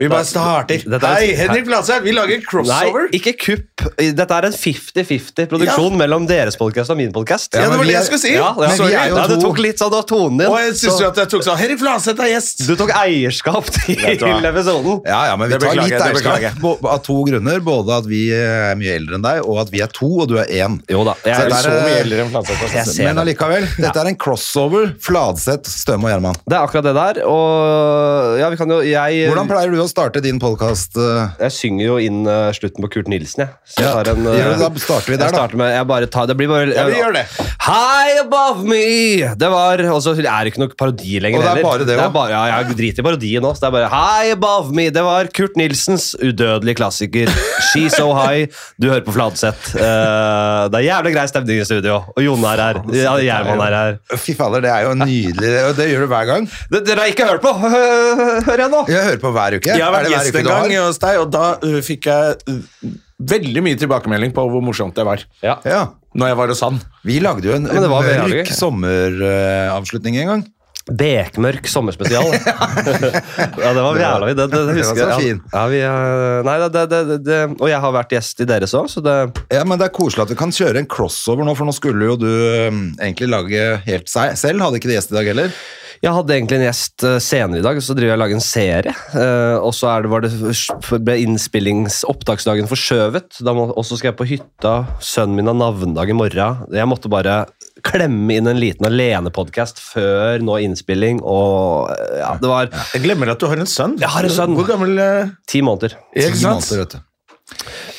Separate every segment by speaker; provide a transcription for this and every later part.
Speaker 1: Vi bare starter.
Speaker 2: Dette er-
Speaker 1: Hei, Henrik Bladseth, vi lager crossover.
Speaker 2: Nei, ikke kupp. Dette er en 50-50 produksjon mellom deres podcast og min podcast.
Speaker 1: Ja, det var det
Speaker 2: men vi
Speaker 1: jeg
Speaker 2: er-
Speaker 1: skulle si.
Speaker 2: Ja, ja.
Speaker 1: Men vi
Speaker 2: Sorry.
Speaker 1: er jo
Speaker 2: Nei, det
Speaker 1: to.
Speaker 2: tok litt sånn av tonen din.
Speaker 1: Og jeg syns
Speaker 2: så-
Speaker 1: jo at jeg tok sånn Henrik Bladseth er gjest!
Speaker 2: Du tok eierskap til
Speaker 1: Vet du hva?
Speaker 2: episoden.
Speaker 1: Ja, ja, men vi
Speaker 3: Det
Speaker 1: tar
Speaker 3: beklager
Speaker 1: litt
Speaker 3: jeg, det
Speaker 1: eierskap bo- av to grunner. Både at vi eh, er mye eldre enn deg, og at vi er to, og du er én.
Speaker 2: Jo da, jeg
Speaker 1: Så
Speaker 2: er
Speaker 1: dette eh,
Speaker 3: Så mye eldre enn Flatseth. altså.
Speaker 2: Jeg ser
Speaker 1: Men
Speaker 2: det.
Speaker 1: allikevel, dette er en crossover Fladseth, Støme og Gjerman.
Speaker 2: Det er akkurat det der, og ja, vi kan jo Jeg,
Speaker 1: Hvordan pleier du å starte din podkast?
Speaker 2: jeg synger jo inn eh, slutten på Kurt Nilsen, jeg. Så jeg
Speaker 1: Ja.
Speaker 2: tar en,
Speaker 1: Ja,
Speaker 2: eh,
Speaker 1: da starter vi der,
Speaker 2: jeg
Speaker 1: da.
Speaker 2: starter Med, jeg bare tar, det blir bare
Speaker 1: Ja, vi gjør det.
Speaker 2: High above me! Det var, og så er det ikke noe parodi lenger
Speaker 1: Og det er
Speaker 2: heller.
Speaker 1: bare det også.
Speaker 2: bare- Ja, jeg driter i parodien nå. Så det er bare High above me! Det var Kurt Nilsens udødelige klassiker. She's so high. Du hører på Fladseth. Eh, det er jævlig grei stemning i studio. Og Jone er her. Ja, Gjerman er her.
Speaker 1: Fy fader, det er jo nydelig. og Det gjør du hver gang.
Speaker 2: Det, dere har ikke hørt på, hører jeg nå.
Speaker 1: Jeg hører på hver uke.
Speaker 3: Jeg har
Speaker 1: Er
Speaker 3: vært
Speaker 1: det hver
Speaker 3: gjest
Speaker 1: uke
Speaker 3: en
Speaker 1: du har?
Speaker 3: gang hos deg, og da uh, fikk jeg uh, veldig mye tilbakemelding på hvor morsomt det var.
Speaker 2: Ja.
Speaker 1: Ja.
Speaker 3: Når jeg var hos han.
Speaker 1: Vi lagde jo en eh,
Speaker 2: men det var veldig
Speaker 1: mørk
Speaker 2: gøy.
Speaker 1: sommeravslutning eh, en gang.
Speaker 2: Bekmørk sommerspesial. ja, det var jævla vidt. Det, det, det
Speaker 1: Den var
Speaker 2: husker
Speaker 1: så
Speaker 2: jeg.
Speaker 1: fin.
Speaker 2: Ja, vi, eh, nei, det, det, det, det, og jeg har vært gjest i deres òg, så det
Speaker 1: Ja, men Det er koselig at vi kan kjøre en crossover nå, for nå skulle jo du øhm, egentlig lage helt seg selv. Hadde ikke det gjest i dag heller.
Speaker 2: Jeg hadde egentlig en gjest eh, senere i dag, så driver jeg og lager en serie. Eh, og så er det, var det, ble innspillings- opptaksdagen forskjøvet. Da må- Og så skal jeg på hytta. Sønnen min har navnedag i morgen. Jeg måtte bare klemme inn en liten alenepodkast før nå innspilling, og eh, ja, det var
Speaker 3: Jeg glemmer at du har en sønn.
Speaker 2: Jeg har en sønn.
Speaker 3: Hvor gammel uh,
Speaker 2: ti måneder.
Speaker 3: Ikke
Speaker 1: Ti
Speaker 3: sant?
Speaker 1: måneder, vet du.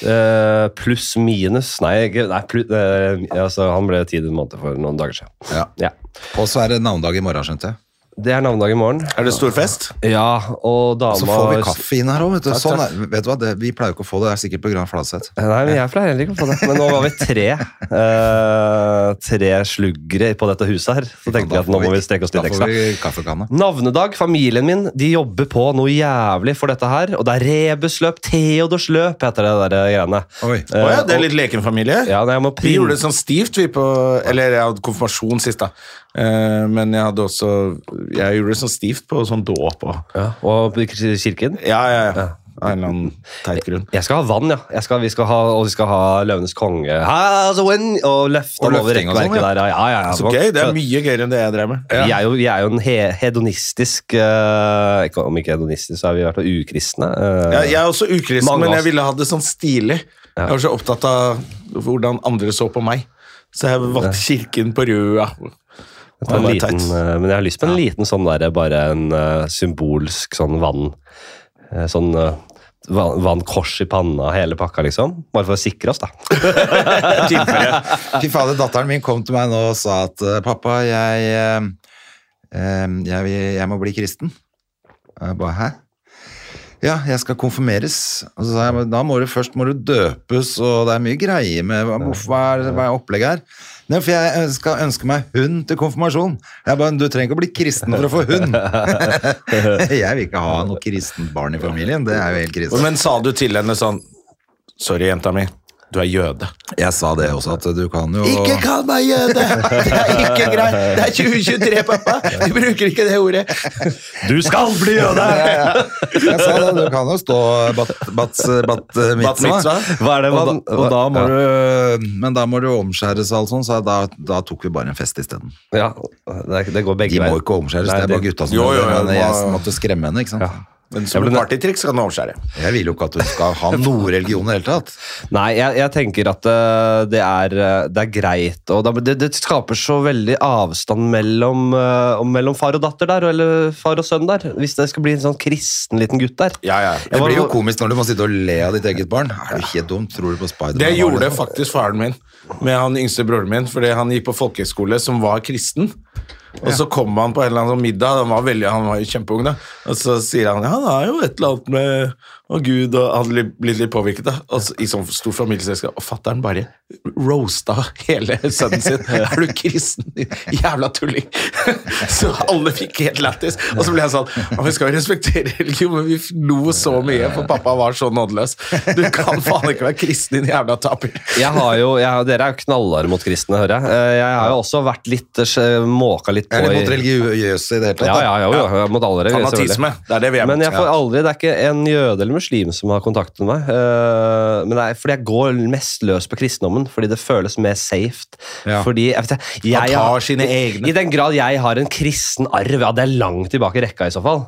Speaker 2: Eh, pluss minus Nei, ikke- nei plu- eh, altså, han ble ti måneder for noen dager siden.
Speaker 1: Ja.
Speaker 2: Ja.
Speaker 1: Og så er det navnedag i morgen, skjønte jeg.
Speaker 2: Det er navnedag i morgen.
Speaker 3: Er det stor fest?
Speaker 2: Ja, og dama
Speaker 1: Så får vi kaffe inn her òg, vet du.
Speaker 3: Takk,
Speaker 1: Sånn
Speaker 3: takk.
Speaker 1: er, vet du hva, det, vi pleier jo ikke å få det. Det er sikkert på Gran Fladseth.
Speaker 2: Eh, Nei, men jeg pleier heller ikke å få det. Men nå var vi tre eh, Tre sluggere på dette huset her. Så tenkte vi
Speaker 1: Da
Speaker 2: at nå
Speaker 1: får
Speaker 2: må vi strekke oss litt
Speaker 1: Da får
Speaker 2: ekstra.
Speaker 1: vi kaffekanne.
Speaker 2: Navnedag, familien min, de jobber på noe jævlig for dette her. Og det er rebusløp, Theodorsløp heter det der greiene.
Speaker 1: Oi.
Speaker 2: Eh,
Speaker 3: Å ja, det er litt leken familie.
Speaker 2: Ja, nei, jeg må
Speaker 3: Vi gjorde
Speaker 2: printe
Speaker 3: det sånn stivt, vi på Eller jeg hadde konfirmasjon sist, da. Eh, men jeg hadde også Jeg gjorde det sånn stivt på sånn dåp og
Speaker 2: ja, Og kirken.
Speaker 3: Ja, ja, ja. Av en eller annen teit grunn.
Speaker 2: Jeg skal ha vann, ja. Jeg skal, vi skal ha, og vi skal ha Løvenes konge. Ha, altså, when, og løfte
Speaker 1: Og
Speaker 2: han over
Speaker 1: løfting og
Speaker 2: rekkverket
Speaker 1: sånn,
Speaker 2: der. Ja, ja, ja,
Speaker 3: Så gøy. Det er mye gøyere enn det jeg drev med.
Speaker 2: Vi, er jo, vi er jo en he hedonistisk eh, ikke, Om ikke hedonistisk, så er vi i hvert fall ukristne. eh.
Speaker 3: Ja, jeg er også ukristen,
Speaker 2: Mange
Speaker 3: men
Speaker 2: av
Speaker 3: jeg
Speaker 2: oss.
Speaker 3: ville ha det sånn stilig. Jeg var så opptatt av hvordan andre så på meg. Så jeg valgte kirken på Røa.
Speaker 2: Jeg tar en
Speaker 3: Det var
Speaker 2: liten,
Speaker 3: teit.
Speaker 2: eh, men jeg har lyst på en liten sånn der, bare en eh, symbolsk sånn vann eh, Sånn eh, vann, vannkors i panna, hele pakka, liksom. Bare for å sikre oss, da.
Speaker 1: Fy fader, datteren min kom til meg nå og sa at eh, pappa, jeg, eh, eh, jeg, vil- jeg må bli kristen. Og jeg bare, hæ? Ja, jeg skal konfirmeres. Og så sa jeg, men da må du først må du døpes, og det er mye greier med hva, hvorfor- hva, er, hva er opplegget her? Nei, for jeg ønsker- skal ønske meg hund til konfirmasjon. Jeg bare, du trenger ikke å bli kristen for å få hund. jeg vil ikke ha noe kristent barn i familien, det er jo helt kristen.
Speaker 3: Men sa du til henne sånn Sorry, jenta mi. Du er jøde.
Speaker 1: Jeg sa det også, at du kan jo...
Speaker 3: kall meg jøde! Det er ikke greit! Det er 2023, pappa! Du bruker ikke det ordet.
Speaker 2: Du skal bli jøde!
Speaker 1: Jeg sa det, du kan jo stå bat, bat, bat, eh,
Speaker 3: Bat mitzvah.
Speaker 2: Hva er det
Speaker 1: Og da,
Speaker 2: man
Speaker 1: og da må
Speaker 2: ja.
Speaker 1: du Men da må du omskjæres og alt sånt, så da, da tok vi bare en fest isteden.
Speaker 2: Ja, det, er- det går begge
Speaker 1: De må
Speaker 2: veier.
Speaker 1: jo ikke omskjæres,
Speaker 2: Nei,
Speaker 1: det er bare gutta som
Speaker 3: Jo, jo,
Speaker 1: gjør det,
Speaker 3: jo,
Speaker 1: men jeg
Speaker 3: hva-
Speaker 1: måtte skremme henne, ikke sant.
Speaker 3: Men som et partytriks kan du overskjære.
Speaker 1: Jeg vil jo ikke at hun skal ha noe religion i det hele tatt.
Speaker 2: Nei, jeg, jeg tenker at eh, det, er, eh, det er greit. Og da- det, det skaper så veldig avstand mellom, eh, og mellom far og datter der, eller far og sønn der. Hvis det skal bli en sånn kristen liten gutt der.
Speaker 3: Ja, ja.
Speaker 1: Det
Speaker 2: var-
Speaker 1: blir jo komisk når du må sitte og le av ditt eget barn. Er du helt dum? Tror du på Spiderman?
Speaker 3: Det
Speaker 1: Var
Speaker 3: gjorde faktisk faren min med han yngste broren min, fordi han gikk på folkehøyskole som var kristen. Og så kom han på en eller annen sånn middag, han var, veldig, han var jo kjempeung, da. og så sier han ja, han er jo et eller annet med og Gud og Han hadde blitt litt påvirket da. Og så, i sånn stort familieselskap. Og fatter'n bare roasta hele sønnen sin. Er du kristen, din jævla tulling? Så alle fikk helt lættis. Og så ble jeg sånn «Ja, Vi skal jo respektere religion, men vi lo så mye, for pappa var så nådeløs. Du kan faen ikke være kristen, din jævla taper.
Speaker 2: Jeg har jo, jeg, har- dere er jo knallharde mot kristne, hører jeg. Eh, Jeg har jo også vært litt eh, måka litt på
Speaker 1: Jeg er litt
Speaker 2: i-
Speaker 1: mot religiøse i det hele tatt.
Speaker 2: Ja,
Speaker 1: da.
Speaker 2: ja, ja, jo, jeg er mot alle religiøse,
Speaker 3: Fanatisme. Det er det vi er
Speaker 2: Men jeg får aldri, det er ikke en jøde eller muslim som har kontaktet meg. eh, men det er fordi jeg går mest løs på kristendommen, fordi det føles mer safe.
Speaker 1: Ja.
Speaker 2: Fordi, jeg vet ikke, jeg,
Speaker 3: Han tar
Speaker 2: har-
Speaker 3: sine egne.
Speaker 2: I den grad jeg har en kristen arv, ja, det er langt tilbake i rekka i så fall.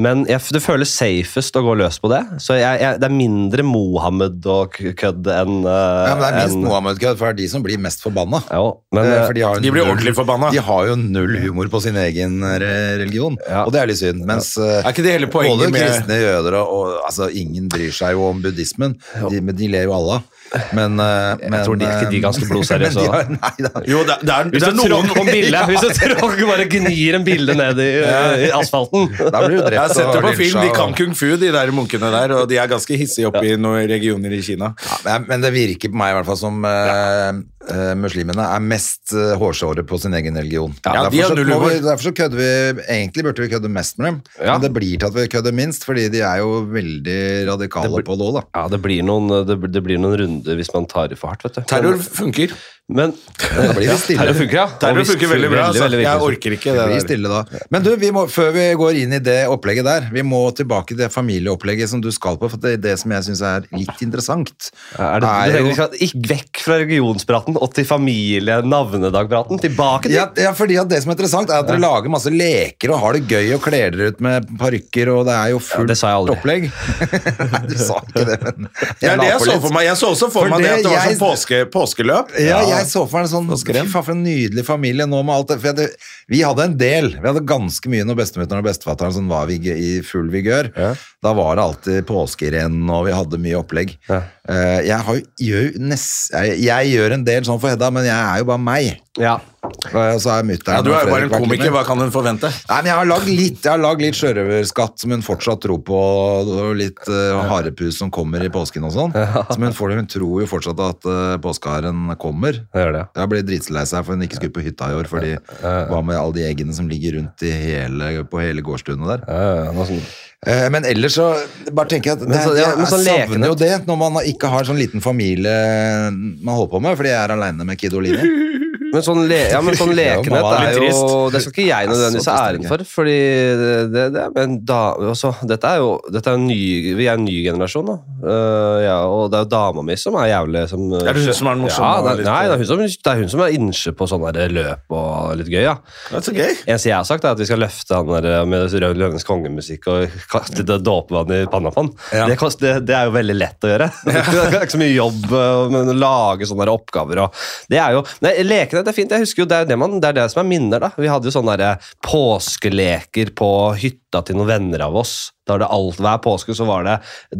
Speaker 2: Men jeg, det føles safest å gå løs på det. Så jeg, jeg, det er mindre Mohammed og k- kødd enn eh,
Speaker 1: Ja, men det er minst
Speaker 2: enn-
Speaker 1: Mohammed-kødd, for det er de som blir mest forbanna.
Speaker 2: Jo, men,
Speaker 1: Eh,
Speaker 2: eh,
Speaker 1: for de, har jo
Speaker 3: de blir
Speaker 1: null-
Speaker 3: ordentlig forbanna.
Speaker 1: De har jo null humor på sin egen re- religion,
Speaker 2: Ja.
Speaker 1: og det er litt synd. Mens eh,
Speaker 3: Er ikke det hele poenget
Speaker 1: både
Speaker 3: med-
Speaker 1: kristne jøder og, og altså, Ingen bryr seg jo om buddhismen, de, men de ler jo alle av. Men, eh, men
Speaker 2: tror de- ikke de er ganske blodseriøse,
Speaker 1: men de
Speaker 2: da.
Speaker 1: har- Nei da.
Speaker 3: Jo, det, det, er,
Speaker 2: Hvis du
Speaker 3: det er noen
Speaker 2: tråkker på en bille, hvis du tråkker bare gnir en bille ned i, eh, i asfalten
Speaker 1: Da blir du
Speaker 3: Jeg har
Speaker 1: drept
Speaker 3: sett det på film. De
Speaker 1: lynsja
Speaker 3: kan
Speaker 1: og-
Speaker 3: kung fu, de der munkene der, og de er ganske hissige oppe i noen regioner i Kina.
Speaker 1: Ja, men- Men det virker på meg i hvert fall som eh, eh, muslimene er mest eh, hårsåre på sin egen religion.
Speaker 3: Ja, de har
Speaker 1: derfor, så,
Speaker 3: null
Speaker 1: må vi,
Speaker 3: humor.
Speaker 1: derfor så kødder vi Egentlig burde vi kødde mest med dem,
Speaker 2: Ja.
Speaker 1: men det blir til at vi kødder minst, fordi de er jo veldig radikale på det òg, da.
Speaker 2: Ja, det blir noen, eh, det, det blir noen runder hvis man tar i for hardt, vet du.
Speaker 3: Terror funker.
Speaker 2: Men, men
Speaker 1: Da blir det stille.
Speaker 2: terror funker, ja. Og
Speaker 3: Terror
Speaker 2: hvis-
Speaker 3: funker veldig bra.
Speaker 2: veldig,
Speaker 3: altså.
Speaker 2: veldig
Speaker 3: Jeg
Speaker 2: viktig.
Speaker 3: orker ikke
Speaker 1: Det
Speaker 3: det
Speaker 1: blir
Speaker 3: der.
Speaker 1: stille da. Men du, vi må, før vi går inn i det opplegget der, vi må tilbake til det familieopplegget som du skal på, for det, det som jeg syns er litt interessant,
Speaker 2: Er det, det,
Speaker 1: jo-
Speaker 2: vi skal ikke vekk fra religionspraten og til familie-navnedagpraten. Tilbake til
Speaker 1: ja, ja, fordi at det som er interessant, er at dere lager masse leker og har det gøy og kler dere ut med parykker, og det er jo fullt
Speaker 2: det sa jeg aldri.
Speaker 1: opplegg. Nei, du sa ikke det, men
Speaker 3: Det er det
Speaker 1: la
Speaker 3: jeg
Speaker 1: på
Speaker 3: så
Speaker 1: litt.
Speaker 3: for meg. Jeg så også for,
Speaker 1: For
Speaker 3: meg det
Speaker 1: det
Speaker 3: at det var
Speaker 1: jeg-
Speaker 3: sånn påske, påskeløp.
Speaker 1: Ja, jeg så for meg en sånn Fy faen, for en nydelig familie nå med alt det. For jeg hadde, vi hadde en del. Vi hadde ganske mye når bestemutteren og bestefatteren som var vig- i full vigør. Da var det alltid påskerenn, og vi hadde mye opplegg. Eh, Jeg, har, jo- gjør, jo nest, jeg, jeg gjør en del sånn for Hedda, men jeg er jo bare meg.
Speaker 2: Ja.
Speaker 1: Og så er mutteren
Speaker 3: Ja, du
Speaker 1: og
Speaker 3: er jo bare
Speaker 1: Fredrik vært
Speaker 3: en
Speaker 1: litt
Speaker 3: komiker,
Speaker 1: med.
Speaker 3: hva kan hun forvente?
Speaker 1: Nei, men jeg har lagd litt, jeg har lagd litt sjørøverskatt som hun fortsatt tror på, og litt eh, harepus som kommer i påsken og sånn. Som hun, får, hun tror jo fortsatt at eh, påskeharen kommer.
Speaker 2: Det gjør det.
Speaker 1: Jeg ble dritlei seg for hun ikke skulle på hytta i år, fordi hva med alle de eggene som ligger rundt i hele, på hele gårdstunet der?
Speaker 2: Ja, ja, noe sånt.
Speaker 1: Eh, Men ellers så bare tenker jeg at det,
Speaker 2: Men så- ja, men
Speaker 1: jeg
Speaker 2: sånn lekende-
Speaker 1: savner jo det når man ikke har sånn liten familie man holder på med, fordi jeg er aleine med Kid og Line.
Speaker 2: Men sånn, le, ja, men sånn
Speaker 1: Ja,
Speaker 2: lekenhet
Speaker 1: mamma,
Speaker 2: er
Speaker 1: litt
Speaker 2: jo Det skal ikke
Speaker 1: Ja,
Speaker 2: jeg
Speaker 1: så
Speaker 2: nødvendigvis
Speaker 1: trist
Speaker 2: ha
Speaker 1: er det
Speaker 2: æren for. Fordi det, det, men da, altså, dette er jo dette er en ny, Vi er en ny generasjon, da. Eh, ja, og det er jo dama mi som er jævlig som,
Speaker 3: Er det hun som er den morsomme
Speaker 2: Ja,
Speaker 3: og
Speaker 2: det,
Speaker 3: litt-
Speaker 2: nei, det er hun som, det er, hun som er innsjø på sånne der løp og litt gøy, ja.
Speaker 3: Det er så gøy.
Speaker 2: Eneste jeg har sagt, er at vi skal løfte han der eh, med Rød Løvenes kongemusikk og kaste litt dåpevann i panna på han.
Speaker 1: Ja.
Speaker 2: Det, kost- det, det er jo veldig lett å gjøre. Det er ikke så mye jobb eh, men å lage sånne der oppgaver og Det er jo Nei, lekenhet er fint. Jeg husker jo det er det, man, det er det som er minner, da. Vi hadde jo sånne der eh, påskeleker på hytta til noen venner av oss. Da var det alt, Hver påske så var det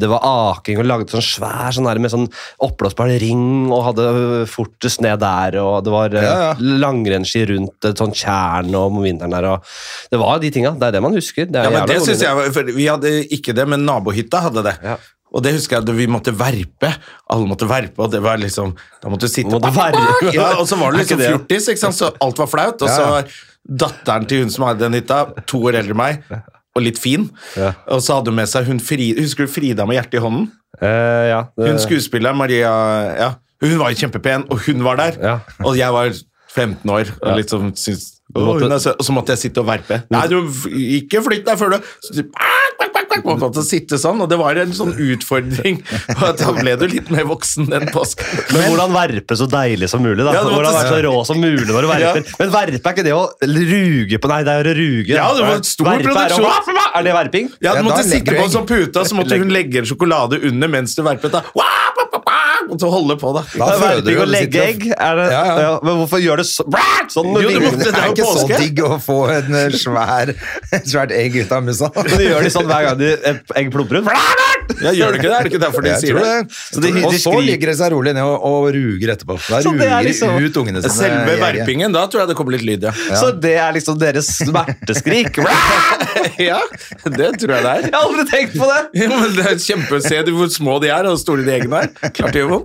Speaker 2: det var aking og lagde sånn svær sånn der med sånn oppblåsbar ring og hadde øh, fortest ned der, og det var øh,
Speaker 1: Ja, ja.
Speaker 2: langrennsski rundt et sånt tjern og om vinteren der. Og det var de tinga. Det er det man husker. Det er
Speaker 3: Ja, men
Speaker 2: jævla
Speaker 3: det
Speaker 2: gode
Speaker 3: synes
Speaker 2: minner.
Speaker 3: jeg var, for Vi hadde ikke det, men nabohytta hadde det.
Speaker 2: Ja.
Speaker 3: Og det husker jeg at vi måtte verpe. Alle måtte verpe, og det var liksom Da måtte du sitte
Speaker 2: Måtte verpe?
Speaker 3: Ja, Og så var
Speaker 2: Er
Speaker 3: du
Speaker 2: ikke
Speaker 3: liksom
Speaker 2: det?
Speaker 3: fjortis, ikke sant? så alt var flaut. Og så
Speaker 1: Ja, ja.
Speaker 3: var datteren til hun som hadde den hytta, to år eldre enn meg, og litt fin.
Speaker 2: Ja.
Speaker 3: Og så hadde hun med seg hun Fri, Husker du Frida med hjertet i hånden?
Speaker 2: Eh, ja, det-
Speaker 3: Hun skuespilleren Maria ja, Hun var jo kjempepen, og hun var der.
Speaker 2: Ja.
Speaker 3: Og jeg var 15 år og liksom syntes
Speaker 2: Du måtte-
Speaker 3: «Å, hun er søt», Og så måtte jeg sitte og verpe. Nei, du f- ikke flytt deg før du så, typ, «Ah, kvakk, kvakk, kvakk», Måtte sitte sånn, og det var en sånn utfordring. Og da ble du litt mer voksen den påsken.
Speaker 2: Men hvordan verpe så deilig som mulig? da?
Speaker 3: Ja, det måtte-
Speaker 2: hvordan være så rå som mulig når du verper?
Speaker 3: Ja.
Speaker 2: Men verpe er ikke det å ruge på Nei, det er å ruge.
Speaker 3: Ja, det var en stor
Speaker 2: verpe Er, å,
Speaker 3: produksjon.
Speaker 2: er det verping?
Speaker 3: Ja,
Speaker 1: Ja, da
Speaker 3: du måtte
Speaker 1: legger du
Speaker 3: sitte på en
Speaker 1: egg.
Speaker 3: sånn pute, og så måtte hun legge en sjokolade under mens du verpet. Da. Wah, pa, pa, pa, Og så holde på, da.
Speaker 1: Da
Speaker 2: Det er
Speaker 1: føder du
Speaker 2: verping
Speaker 1: jo,
Speaker 2: å
Speaker 1: du
Speaker 2: legge
Speaker 1: sitter og-
Speaker 2: egg? Er det,
Speaker 1: Ja,
Speaker 2: ja,
Speaker 1: ja.
Speaker 2: men hvorfor gjør det så, sånn med
Speaker 3: Jo, du
Speaker 2: vingene?
Speaker 3: måtte-
Speaker 1: Det er ikke så
Speaker 3: påske.
Speaker 1: digg å få en eh, svær, et svært egg ut av musa.
Speaker 2: Men de gjør de sånn hver gang de et egg plumper ut.
Speaker 3: Ja, gjør du ikke det? Er det ikke derfor de
Speaker 1: Jeg
Speaker 3: sier
Speaker 1: tror
Speaker 3: det?
Speaker 1: det.
Speaker 2: Så de- de
Speaker 1: og så
Speaker 2: skriker-
Speaker 1: ligger det seg rolig ned og, og ruger etterpå. Da
Speaker 2: Så det
Speaker 1: ruger
Speaker 2: er
Speaker 1: de
Speaker 2: liksom-
Speaker 1: ut ungene sine.
Speaker 3: Selve
Speaker 1: i egget.
Speaker 3: verpingen, da tror jeg det kommer litt lyd, ja.
Speaker 2: Så det er liksom deres smerteskrik. Jeg
Speaker 3: Ja, det tror jeg det er.
Speaker 2: har aldri tenkt på det!
Speaker 3: Ja, men det er kjempe, Se du hvor små de er, og hvor store de eggene er. Klart det gjør sant?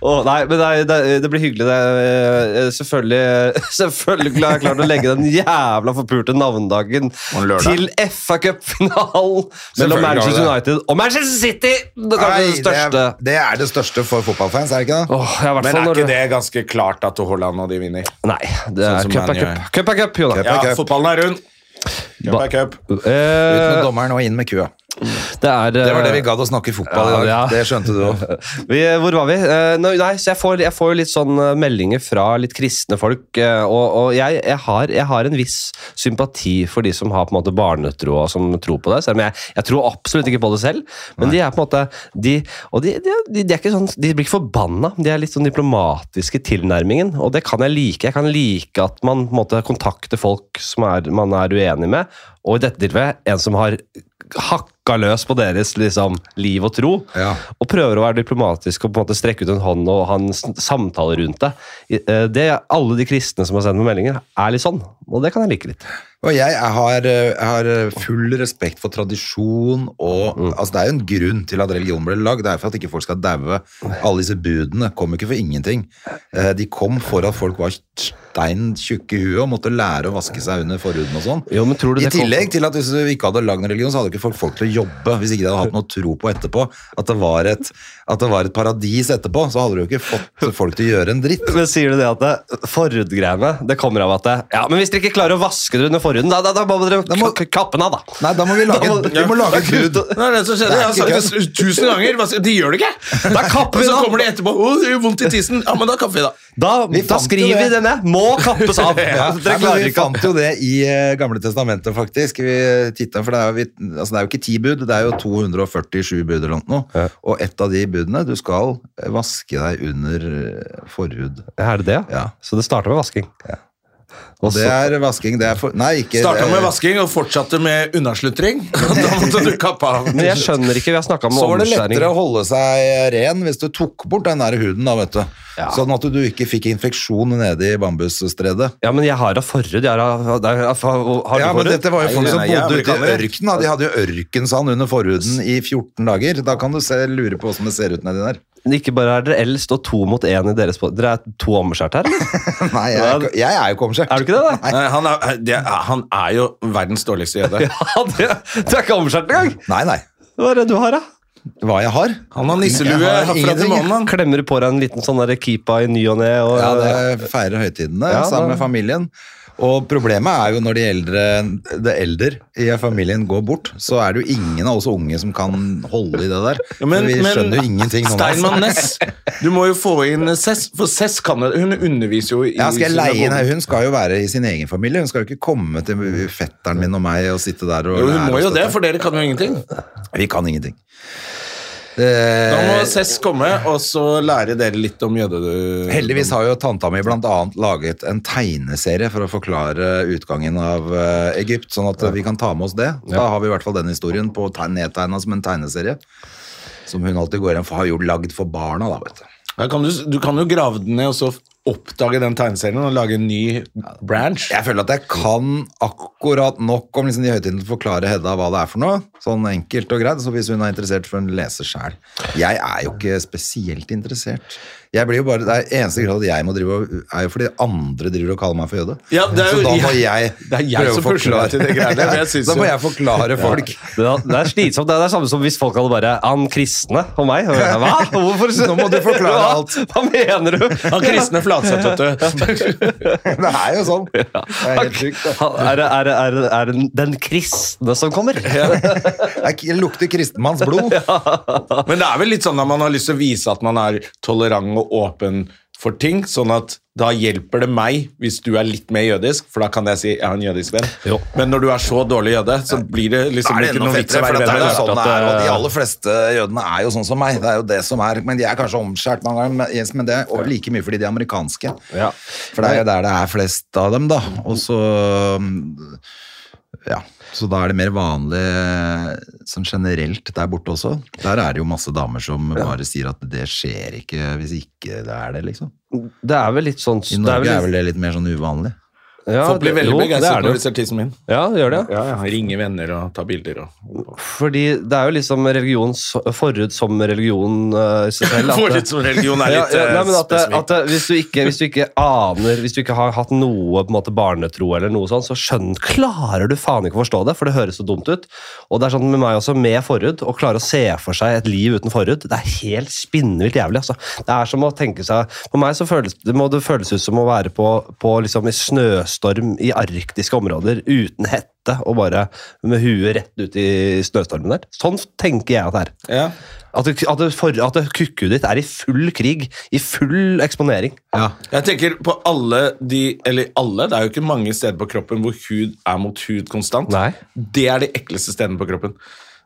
Speaker 2: Åh, nei, men det, er- det, er- det blir hyggelig. Det. er, eh, Selvfølgelig, selvfølgelig har jeg klart å legge den jævla forpulte navnedagen
Speaker 3: Og en lørdag.
Speaker 2: til FA-cupfinalen mellom
Speaker 3: Selvfølgelig har du
Speaker 2: Manchester
Speaker 3: det.
Speaker 2: United og Manchester City! Det er kanskje
Speaker 1: Nei,
Speaker 2: det
Speaker 1: det, er,
Speaker 2: største.
Speaker 1: det er det største for fotballfans, er det ikke det?
Speaker 2: Åh, ja, i hvert
Speaker 3: Men
Speaker 2: fall
Speaker 3: er
Speaker 2: når
Speaker 3: ikke
Speaker 2: du-
Speaker 3: det ganske klart at Haaland og de vinner?
Speaker 2: Nei, det er
Speaker 3: som
Speaker 2: cup er
Speaker 3: Man E.
Speaker 2: cup.
Speaker 3: gjør.
Speaker 2: Cup er cup, Jonas.
Speaker 1: er
Speaker 3: Ja,
Speaker 1: cup.
Speaker 3: fotballen er rund. Cup
Speaker 2: Ba-
Speaker 3: er cup.
Speaker 1: Ut med
Speaker 2: Eh,
Speaker 1: dommeren og inn med kua.
Speaker 2: det er
Speaker 1: Det var det vi
Speaker 2: eh,
Speaker 1: gadd å snakke fotball
Speaker 2: Ja,
Speaker 1: i dag.
Speaker 2: ja.
Speaker 1: Det skjønte du òg.
Speaker 2: Vi, hvor var vi? Eh, nå- nei, så jeg får, jeg får jo litt sånn eh, meldinger fra litt kristne folk, eh, og, og jeg, jeg, har, jeg har en viss sympati for de som har på en måte barnetro og som tror på det, selv om jeg, jeg tror absolutt ikke på det selv, men de er på en måte de, og de, de, de, de er ikke sånn, de blir ikke forbanna, de er litt sånn diplomatiske i tilnærmingen, og det kan jeg like. Jeg kan like at man på en måte kontakter folk som er, man er uenig med, og i dette tilfellet en som har hakka løs på deres liksom, liv og tro,
Speaker 1: Ja.
Speaker 2: og prøver å være diplomatisk og på en måte strekke ut en hånd og ha en s- samtale rundt det. I- eh, det. Alle de kristne som har sendt meg meldinger, er litt sånn, og det kan jeg like litt.
Speaker 1: Og jeg har, eh, har full respekt for tradisjon og
Speaker 2: Mm.
Speaker 1: altså Det er jo en grunn til at religion ble lagd. Det er for at ikke folk skal daue. Alle disse budene kom jo ikke for ingenting. Eh, De kom for at folk var stein tjukke i huet og måtte lære å vaske seg under forhuden og sånn.
Speaker 2: Jo, men tror du
Speaker 1: I
Speaker 2: det kom-
Speaker 1: tillegg til at hvis du ikke hadde lagd en religion, så hadde ikke folk folk til å jobbe hvis ikke de hadde hatt noe tro på etterpå. At det var et, at det var et paradis etterpå, så hadde du jo ikke fått folk til å gjøre en dritt.
Speaker 2: Men sier du det at det, forhudgreiene det kommer av at det, ja, men hvis dere ikke klarer å vaske dere under forhuden, da, da, da må dere
Speaker 1: må-
Speaker 2: k- kappe den av, da.
Speaker 1: Nei, da må vi lage, en- vi må lage et gud.
Speaker 3: Det er det som
Speaker 1: Det
Speaker 3: skjedde.
Speaker 1: er
Speaker 3: Jeg har
Speaker 1: ikke
Speaker 3: sagt det tusen ganger. Hva skal- De gjør det ikke!
Speaker 2: Da kapper
Speaker 3: Og
Speaker 2: vi
Speaker 3: så
Speaker 2: den
Speaker 3: kommer
Speaker 2: av!
Speaker 3: de etterpå. Å, det gjør vondt i tissen. Ja, men da kapper vi, da.
Speaker 2: Da,
Speaker 1: Vi
Speaker 2: da
Speaker 1: fant jo
Speaker 2: skriver vi
Speaker 1: det.
Speaker 2: den ned. Må kappes av!
Speaker 1: Ja,
Speaker 2: Dere
Speaker 1: nei, men
Speaker 2: klarer
Speaker 1: vi
Speaker 2: ikke å
Speaker 1: fant jo det i eh, Gamle testamentet, faktisk. Vi tittet, for det er, jo, vi, altså, det er jo ikke ti bud, det er jo 247 bud eller noe.
Speaker 2: Ja.
Speaker 1: Og et av de budene Du skal eh, vaske deg under eh, forhud.
Speaker 2: Er det det?
Speaker 1: Ja.
Speaker 2: Så det starta med vasking. Og
Speaker 1: Det
Speaker 2: så-
Speaker 1: er vasking. Det er for... Nei, ikke
Speaker 3: Starta med
Speaker 1: eh,
Speaker 3: vasking og fortsatte med unnaslutring. Da måtte du kappe av.
Speaker 2: men jeg skjønner ikke, vi har snakka om
Speaker 1: Så var det lettere
Speaker 2: omskjæring.
Speaker 1: å holde seg ren hvis du tok bort den der huden, da, vet du.
Speaker 2: Ja.
Speaker 1: Sånn at du ikke fikk infeksjon nede i bambusstredet.
Speaker 2: Ja, men jeg har av forhud. Jeg har av, det er- har du forhud?
Speaker 1: Ja, men dette var jo
Speaker 3: Nei,
Speaker 1: folk
Speaker 3: det
Speaker 1: som
Speaker 3: er
Speaker 1: bodde
Speaker 3: jævlig
Speaker 1: ute i
Speaker 3: kaldt.
Speaker 1: ørkenen. da. De hadde jo ørkensand under forhuden i 14 dager. Da kan du se, lure på åssen det ser ut nedi der.
Speaker 2: Ikke bare er dere eldst og to mot én i deres pod- Dere er to omskjært her, eller?
Speaker 1: Nei, jeg, er ikke- jeg er jo ikke
Speaker 2: Er
Speaker 1: omskjært.
Speaker 2: du ikke det, da?
Speaker 3: Nei, han, er, det er, han er jo verdens dårligste jøde.
Speaker 2: Ja, du, du er ikke omskjært engang!
Speaker 1: Nei, nei.
Speaker 2: Hva er det du har, da?
Speaker 1: Hva jeg har?
Speaker 3: Han har nisselue
Speaker 1: Jeg har
Speaker 3: herfra til
Speaker 1: ingenting, jeg.
Speaker 3: månen. han.
Speaker 2: Klemmer du på deg en liten sånn der keepa i ny og ne? Og,
Speaker 1: Ja, det feirer høytidene
Speaker 2: Ja,
Speaker 1: sammen
Speaker 2: da-
Speaker 1: med familien. Og problemet er jo når de eldre, det eldre i familien går bort, så er det jo ingen av oss unge som kan holde i det der.
Speaker 3: Ja, men-
Speaker 1: vi
Speaker 3: men
Speaker 1: skjønner jo ingenting. noen av oss.
Speaker 3: Steinmann Ness. Du må jo få inn Cess, for Cess kan jo Hun underviser jo i
Speaker 1: Ja, skal jeg leie inn her?
Speaker 3: synagogen.
Speaker 1: Hun skal jo være i sin egen familie. Hun skal jo ikke komme til fetteren min og meg og sitte der og
Speaker 3: Jo, hun må
Speaker 1: oss
Speaker 3: jo det,
Speaker 1: dette.
Speaker 3: for dere kan jo ingenting.
Speaker 1: Vi kan ingenting.
Speaker 3: Da må
Speaker 1: Eh,
Speaker 3: Cess komme, og så lære dere litt om jøde...
Speaker 1: heldigvis har jo tanta mi blant annet laget en tegneserie for å forklare utgangen av eh, Egypt, sånn at eh, vi kan ta med oss det. Da har vi i hvert fall den historien på teg- nedtegnet som en tegneserie. Som hun alltid går igjen for, har jo lagd for barna, da, vet du.
Speaker 3: Da kan du, du kan jo grave den ned og så oppdage den tegneserien og lage en ny branch.
Speaker 1: Jeg føler at jeg kan akkurat nok om liksom de høytidene til å forklare Hedda hva det er for noe. Sånn enkelt og greit. Så hvis hun er interessert, får hun lese sjæl. Jeg er jo ikke spesielt interessert. Jeg blir jo bare, det er Eneste grunn til at jeg må drive og, er jo fordi andre driver og kaller meg for jøde.
Speaker 3: Ja, det er jo-
Speaker 1: så da må jeg,
Speaker 3: Det er jeg som pusher deg til de greiene, men jeg synes
Speaker 1: da må
Speaker 3: jo-
Speaker 1: jeg forklare folk.
Speaker 2: Det er, det er slitsomt. Det er det samme som hvis folk hadde bare Han kristne og meg. Og jeg, Hva? Hvorfor?
Speaker 1: Nå må du forklare
Speaker 2: Hva?
Speaker 1: alt.
Speaker 2: Hva mener du?
Speaker 3: Han kristne Flatseth, vet du.
Speaker 1: Det er jo sånn. Det er helt sjukt. det.
Speaker 2: Han- Er det er, det- er, det- er det den kristne som kommer?
Speaker 1: Det lukter kristenmanns blod.
Speaker 3: Men det er vel litt sånn at man har lyst til å vise at man er tolerant og åpen for ting, sånn at da hjelper det meg hvis du er litt mer jødisk, for da kan jeg si jeg har en jødisk venn.
Speaker 2: Jo.
Speaker 3: Men når du er så dårlig jøde, så blir det liksom
Speaker 1: er det
Speaker 3: ikke
Speaker 1: enda
Speaker 3: noe vits å
Speaker 1: fettere, for
Speaker 3: være altså.
Speaker 1: det er jo sånn
Speaker 3: venn med deg.
Speaker 1: det er,
Speaker 2: at,
Speaker 1: og de
Speaker 2: eh,
Speaker 1: aller fleste jødene er jo sånn som meg. Det er jo det som er, men de er kanskje omskjært mange ganger, men- yes, men det er og like mye fordi de er amerikanske.
Speaker 2: Ja.
Speaker 1: For det er jo der det er flest av dem, da. Og så mm, ja, så da er det mer vanlig sånn generelt der borte også. Der er det jo masse damer som bare sier at det skjer ikke hvis ikke det er det, liksom.
Speaker 2: Det er vel litt sånn
Speaker 1: I Norge er vel det litt mer sånn uvanlig.
Speaker 2: Ja,
Speaker 3: Folk blir
Speaker 2: det-
Speaker 3: veldig
Speaker 2: jo, det er
Speaker 3: begeistret når de
Speaker 2: det.
Speaker 3: ser tissen min.
Speaker 2: Ja, det gjør det.
Speaker 3: Ja, ja, Ringe venner og ta bilder og
Speaker 2: Fordi det er jo liksom religion forhud som religion eh, i seg selv. at-
Speaker 3: Forut som religion er
Speaker 2: Ja,
Speaker 3: litt
Speaker 2: ja,
Speaker 3: eh,
Speaker 2: nei, men at,
Speaker 3: spesifikk.
Speaker 2: at hvis, du ikke, hvis du ikke aner Hvis du ikke har hatt noe på en måte barnetro, eller noe sånt, så skjønn, klarer du faen ikke å forstå det, for det høres så dumt ut. Og det er sånn med meg også, med forhud, å klare å se for seg et liv uten forhud, det er helt spinnvilt jævlig. Altså. Det er som å tenke seg For meg så føles det, må det føles ut som å være på, på liksom i snøstorm i arktiske områder uten hette og bare med huet rett ut i snøstormen der. Sånn tenker jeg at det er.
Speaker 3: Ja.
Speaker 2: At, det, at, det for, at det kukkuet ditt er i full krig, i full eksponering.
Speaker 1: Ja.
Speaker 3: Jeg tenker på alle de Eller alle, det er jo ikke mange steder på kroppen hvor hud er mot hud konstant.
Speaker 2: Nei.
Speaker 3: Det er de ekleste stedene på kroppen.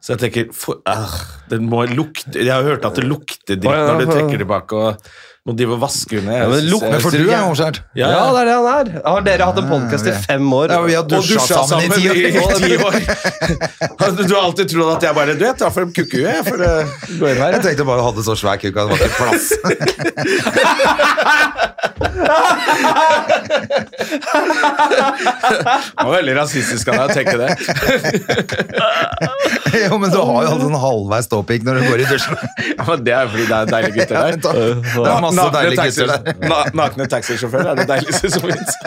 Speaker 3: Så jeg tenker for, ah, det må lukte, Jeg har hørt at det lukter dritt
Speaker 2: Å, ja,
Speaker 3: når du
Speaker 2: ja.
Speaker 3: trekker tilbake og må drive og vaske under.
Speaker 2: Ja,
Speaker 3: Jeg
Speaker 2: men
Speaker 3: synes
Speaker 2: lukter
Speaker 3: jeg-
Speaker 1: For du er håndskjært.
Speaker 3: Ja,
Speaker 2: Ja,
Speaker 3: ja.
Speaker 2: det er det han er. Har dere hatt en podkast i
Speaker 1: vi-
Speaker 2: fem år?
Speaker 1: Ja, vi har
Speaker 3: og
Speaker 1: dusja sammen, i ti år.
Speaker 3: ti år. Altså, du har alltid trodd at jeg bare Du, jeg tar frem kukkuet, jeg, for å gå inn her.
Speaker 1: Jeg tenkte bare å ha det så svær kuk at det var ikke plass.
Speaker 3: Det var veldig rasistisk av deg å tenke det.
Speaker 1: jo, men du har jo alltid sånn halvveis ståpikk når du går i dusjen.
Speaker 3: Ja, men det er jo fordi det er deilige gutter
Speaker 1: Ja,
Speaker 3: der.
Speaker 1: men takk. Det er masse deilige gutter der.
Speaker 3: Na, nakne taxisjåfører er det deiligste som fins.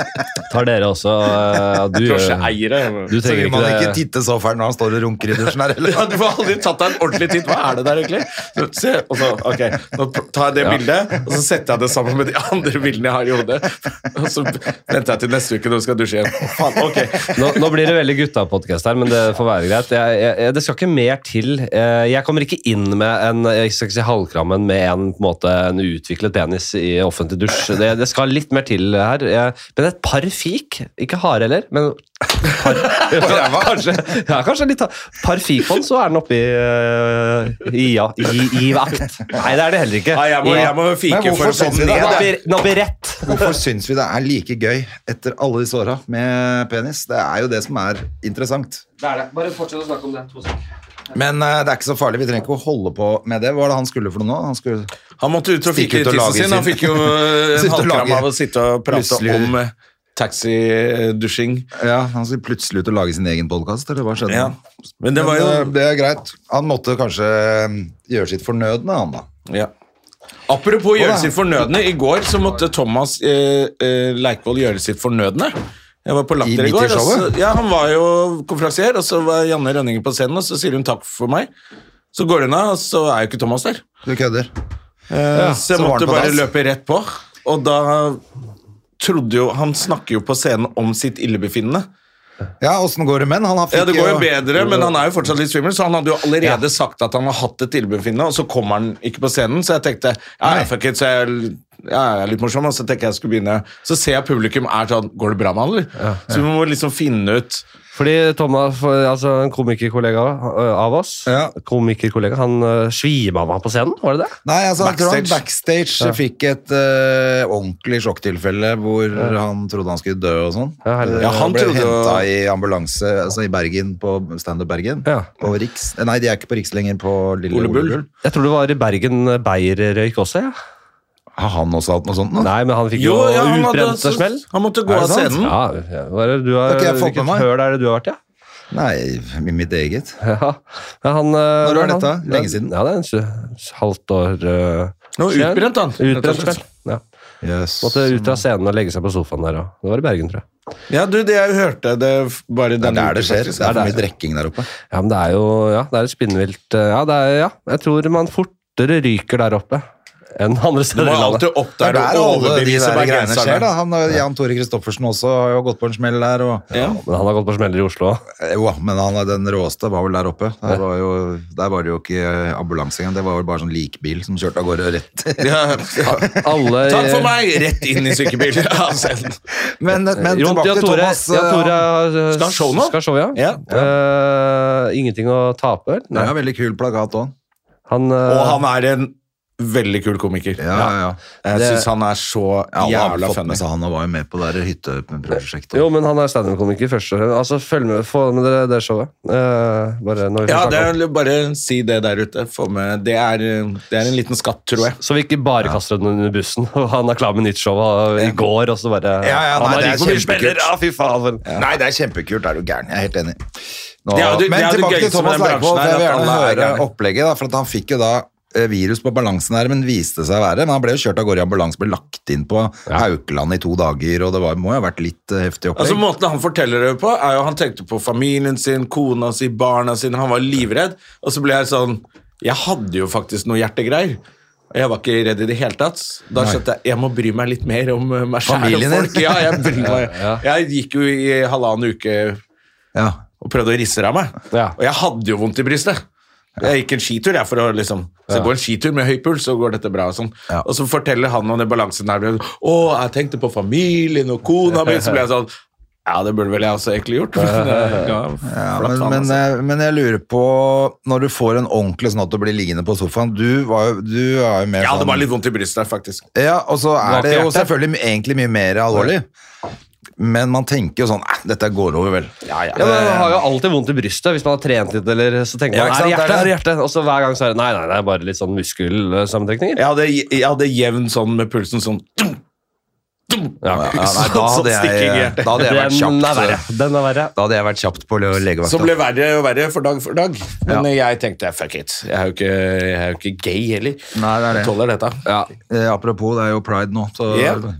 Speaker 2: Tar dere også eh, du,
Speaker 3: Drosjeeiere.
Speaker 2: du
Speaker 1: Så
Speaker 2: trenger
Speaker 1: vil man
Speaker 2: ikke
Speaker 1: ikke
Speaker 2: det.
Speaker 1: titte så fælt når han står og runker i dusjen her heller.
Speaker 3: Ja, du får aldri tatt deg en ordentlig titt. Hva er det der, egentlig? Så, se, og så, ok, Nå tar jeg det bildet, og så setter jeg det sammen med de andre bildene jeg har i hodet. Og så venter jeg til neste uke når du skal dusje igjen. Å, faen, ok.
Speaker 2: Nå, nå blir det veldig gutta-podkast her, men det får være greit. Jeg, jeg, jeg, det skal ikke mer til. Eh, Jeg kommer ikke inn med en jeg skal ikke si halvkrammen med en, på en, måte, en utviklet penis i offentlig dusj. Det, det skal litt mer til her. Jeg, men et par fik. Ikke harde heller, men
Speaker 1: På ræva.
Speaker 2: Kanskje, ja, kanskje litt Par fikon, så er den oppe i øh, i, ja, i, i vakt. Nei, det er det heller ikke.
Speaker 3: Nei, jeg må, jeg må
Speaker 1: Men
Speaker 3: fike
Speaker 1: hvorfor
Speaker 3: for å
Speaker 1: synes vi det?
Speaker 2: Den
Speaker 3: komme ned.
Speaker 2: er
Speaker 3: da.
Speaker 2: oppe i- den er oppe i rett.
Speaker 1: Hvorfor syns vi det er like gøy etter alle disse åra med penis? Det er jo det som er interessant.
Speaker 2: Det er det. Bare fortsett å snakke om det.
Speaker 1: Men eh, det er ikke så farlig. Vi trenger ikke å holde på med det. Hva var det han skulle for noe nå? Han skulle
Speaker 3: Han måtte ut og
Speaker 1: Stikke
Speaker 3: fike
Speaker 1: ut
Speaker 3: i
Speaker 1: og lage
Speaker 3: tissen sin. Han
Speaker 1: sin.
Speaker 3: fikk jo en
Speaker 1: Sitte og
Speaker 3: halvkram
Speaker 1: lage.
Speaker 3: av å sitte og prate
Speaker 1: Plutselig-
Speaker 3: om eh, taxidusjing.
Speaker 1: Ja, han skulle plutselig ut og lage sin egen podkast, eller hva skjedde?
Speaker 3: Ja. Men det var
Speaker 1: Men,
Speaker 3: jo
Speaker 1: eh, det er greit. Han måtte kanskje eh, gjøre sitt fornødne, han da.
Speaker 3: Ja. Apropos
Speaker 1: Å,
Speaker 3: gjøre
Speaker 1: da.
Speaker 3: sitt fornødne. I går så måtte Thomas eh, eh, Leikvoll gjøre sitt fornødne. Jeg var på
Speaker 1: I
Speaker 3: Latter
Speaker 1: midt
Speaker 3: i,
Speaker 1: i
Speaker 3: går. og
Speaker 1: showet?
Speaker 3: så- ja, han var jo konferansier, og så var Janne Rønningen på scenen, og så sier hun takk for meg. Så går hun av, og så er jo ikke Thomas der.
Speaker 1: Du kødder.
Speaker 3: Eh, så jeg
Speaker 1: så var
Speaker 3: måtte
Speaker 1: han på
Speaker 3: bare
Speaker 1: dass.
Speaker 3: løpe rett på. Og da trodde jo Han snakker jo på scenen om sitt illebefinnende.
Speaker 1: Ja, åssen går det med han? Han fikk
Speaker 3: Ja, det går jo
Speaker 1: jo-
Speaker 3: bedre, men han er jo fortsatt litt svimmel, så han hadde jo allerede sagt at han har hatt et illebefinnende, og så kommer han ikke på scenen, så jeg tenkte ja,
Speaker 1: Nei.
Speaker 3: fuck it, så jeg, ja, jeg er litt morsom, og så tenker jeg jeg skulle begynne. Så ser jeg publikum er sånn Går det bra med han, eller? Så vi må liksom finne ut
Speaker 2: Fordi Thomas, for- altså en komikerkollega øh, av oss,
Speaker 1: Ja.
Speaker 2: komikerkollega, han øh, svima av på scenen, var det det?
Speaker 1: Nei, altså, jeg tror han
Speaker 3: Backstage.
Speaker 1: backstage fikk et eh, ordentlig sjokktilfelle hvor han trodde han skulle dø og sånn.
Speaker 2: Ja, herregud.
Speaker 1: Eh,
Speaker 3: Ja, han
Speaker 1: ble
Speaker 3: trodde jo-
Speaker 1: henta i ambulanse altså i Bergen, på Standup Bergen.
Speaker 2: Ja.
Speaker 1: På Riks. eh, Nei, de er ikke på Riks lenger, på Lille
Speaker 3: Ole
Speaker 1: Ole
Speaker 3: Bull.
Speaker 1: Bull.
Speaker 2: Jeg tror det var i Bergen øh, Beyer røyk også, ja.
Speaker 1: Har han også hatt noe sånt nå?
Speaker 2: Nei, men han fikk jo,
Speaker 3: ja, han, hadde,
Speaker 2: utbrent og smell.
Speaker 3: han måtte gå
Speaker 1: Er det
Speaker 3: av
Speaker 1: sant?
Speaker 3: scenen.
Speaker 2: Ja, ja, hva er det du har,
Speaker 1: Det har ikke jeg fått med
Speaker 2: hvilket
Speaker 1: meg.
Speaker 2: høl er det du har vært i? Ja?
Speaker 1: Nei, i mitt eget.
Speaker 2: Ja, ja, han, Når
Speaker 1: var dette? Lenge siden?
Speaker 2: Ja, det er en s- halvt år uh,
Speaker 3: Nå, utbrent, han. Rett og
Speaker 2: Utbrent,
Speaker 3: slett.
Speaker 2: vel. Ja.
Speaker 1: Yes.
Speaker 2: Måtte ut av scenen og legge seg på sofaen der òg. Det var i Bergen, tror jeg.
Speaker 3: Ja, du, det jeg hørte det f- bare
Speaker 1: Det er
Speaker 3: denne
Speaker 1: der det
Speaker 3: uken,
Speaker 1: skjer.
Speaker 3: faktisk.
Speaker 1: Det er
Speaker 2: Det er
Speaker 1: for mye
Speaker 2: der.
Speaker 1: drikking der oppe.
Speaker 2: Ja, men det er jo ja, det er et spinnvilt eh, ja, det er, ja, jeg tror man fortere ryker der oppe enn andre
Speaker 3: Du
Speaker 2: steder
Speaker 3: må
Speaker 2: i landet.
Speaker 3: alltid opp
Speaker 1: Det er
Speaker 3: der
Speaker 1: der
Speaker 3: og
Speaker 1: alle de
Speaker 3: overbevise
Speaker 1: der greiene skjer, da.
Speaker 3: bergenserne.
Speaker 1: Han, eh, Jan Tore Christoffersen også har jo gått på en smell der. Og,
Speaker 3: Ja.
Speaker 2: Men han har gått på smeller i Oslo òg.
Speaker 1: Eh, Jo, men han, den råeste var vel der oppe. Der var, jo, der var det jo ikke eh, ambulanse engang. Det var vel bare sånn likbil som kjørte av gårde rett.
Speaker 3: Ja.
Speaker 2: Alle
Speaker 3: Takk for meg! Rett inn i sykebil. Ja, selv.
Speaker 1: Men, men
Speaker 2: Jon,
Speaker 1: tilbake
Speaker 2: Jan
Speaker 1: til
Speaker 2: Tore,
Speaker 1: Thomas.
Speaker 2: Jan Tore
Speaker 1: han-
Speaker 2: eh,
Speaker 3: Skal han show nå?
Speaker 2: Skal show, ja.
Speaker 3: Ja.
Speaker 2: Eh, ingenting å tape, vel?
Speaker 1: det er jo veldig kul plakat òg.
Speaker 2: Han, eh,
Speaker 3: Og han er en Veldig kul komiker.
Speaker 1: Ja, ja.
Speaker 3: Jeg
Speaker 2: Det-
Speaker 3: syns han er så
Speaker 1: Alle har
Speaker 3: jævla
Speaker 1: fått med
Speaker 3: funny.
Speaker 1: seg han og var jo med på det der hytteprosjektet.
Speaker 2: Jo, men han er standup-komiker først og fremst. Altså, følg med, få med dere det showet. Eh, bare når vi
Speaker 3: Ja,
Speaker 2: snakker
Speaker 3: det
Speaker 2: om-
Speaker 3: er, bare si det der ute. Få med. Det er, det er en liten skatt, tror jeg.
Speaker 2: Så vi ikke bare kaster den under bussen. Han er klar med nytt show uh, i går, og så bare
Speaker 1: Ja, ja,
Speaker 2: Han
Speaker 1: nei,
Speaker 2: har
Speaker 1: det er Ah,
Speaker 2: ringt på mye
Speaker 1: kjempekult.
Speaker 2: spillere! Ja, fy faen! for-
Speaker 1: Nei, det er kjempekult. Er du gæren? Jeg er helt enig. Nå,
Speaker 3: Det er jo det- det
Speaker 1: men
Speaker 3: er jo det
Speaker 1: tilbake til
Speaker 3: gøyeste med
Speaker 1: Thomas
Speaker 3: den
Speaker 1: Leirvoll.
Speaker 3: bransjen her,
Speaker 1: Jeg vil gjerne
Speaker 3: at alle er
Speaker 1: høre
Speaker 3: gærne.
Speaker 1: opplegget, da, for at han fikk jo da eh, virus på balansen her, men viste seg å være. Men han ble jo kjørt av gårde i ambulanse, ble lagt inn på Haukeland i to dager, og det var, må jo ha vært litt eh, heftig
Speaker 3: Altså
Speaker 1: opplegg.
Speaker 3: Måten han forteller det på, er jo han tenkte på familien sin, kona si, barna sine. Han var livredd. Og så ble jeg sånn Jeg hadde jo faktisk noe hjertegreier. Og jeg var ikke redd i det hele tatt. Da
Speaker 1: Nei.
Speaker 3: skjønte jeg jeg må bry meg litt mer om eh, meg selv og
Speaker 1: Familien din.
Speaker 3: folk. Ja, jeg, bryr meg.
Speaker 2: Ja,
Speaker 3: jeg gikk jo i halvannen uke
Speaker 1: Ja.
Speaker 3: og prøvde å risse det av meg.
Speaker 2: Ja.
Speaker 3: Og jeg hadde jo vondt i brystet. Jeg gikk en skitur jeg for å liksom Se på en skitur med høy puls, så går dette bra. Og sånn
Speaker 1: Ja.
Speaker 3: Og så forteller han om det balansenervet. 'Å, jeg tenkte på familien og kona mi.' Så ble jeg sånn Ja, det burde vel jeg også egentlig gjort. Men, ja,
Speaker 1: Ja,
Speaker 3: flatt
Speaker 1: men,
Speaker 3: faen,
Speaker 1: men,
Speaker 3: altså.
Speaker 1: eh, men jeg lurer på Når du får en ordentlig sånn at du blir liggende på sofaen Du var jo, du er jo mer
Speaker 3: jeg hadde
Speaker 1: sånn
Speaker 3: bare litt vondt i brystet, faktisk.
Speaker 1: Ja, og så er
Speaker 2: Bak
Speaker 1: det jo
Speaker 2: hjertet.
Speaker 1: selvfølgelig egentlig mye mer alvorlig. Men man tenker jo sånn "Eh, Dette går over, vel.
Speaker 2: Ja, men Man har jo alltid vondt i brystet hvis man har trent litt. eller så tenker
Speaker 1: Ja,
Speaker 2: man,
Speaker 1: ikke
Speaker 2: er
Speaker 1: sant?
Speaker 2: det
Speaker 1: Det
Speaker 2: hjerte,
Speaker 1: er
Speaker 2: er det
Speaker 1: det.
Speaker 2: hjerte? Og så hver gang så er det nei, nei, det er bare litt sånn muskelsammentrekninger.
Speaker 3: Jeg hadde, jeg hadde jevn sånn med pulsen sånn dum, dum,
Speaker 2: Ja.
Speaker 1: Ja, nei, da,
Speaker 3: Sånn
Speaker 1: hadde
Speaker 3: stikking i
Speaker 1: jeg,
Speaker 3: hjertet.
Speaker 1: da hadde jeg vært
Speaker 2: Den er verre.
Speaker 1: kjapt
Speaker 2: Den er verre.
Speaker 1: Da hadde jeg vært kjapt på le- legevakta.
Speaker 3: Som ble verre og verre for dag for dag. Men eh, jeg tenkte fuck it. Jeg er jo ikke, jeg er jo ikke gay heller.
Speaker 1: Nei, det er det.
Speaker 3: Jeg tåler dette.
Speaker 2: Ja.
Speaker 1: Eh, apropos, det er jo pride nå. Så
Speaker 3: Ja.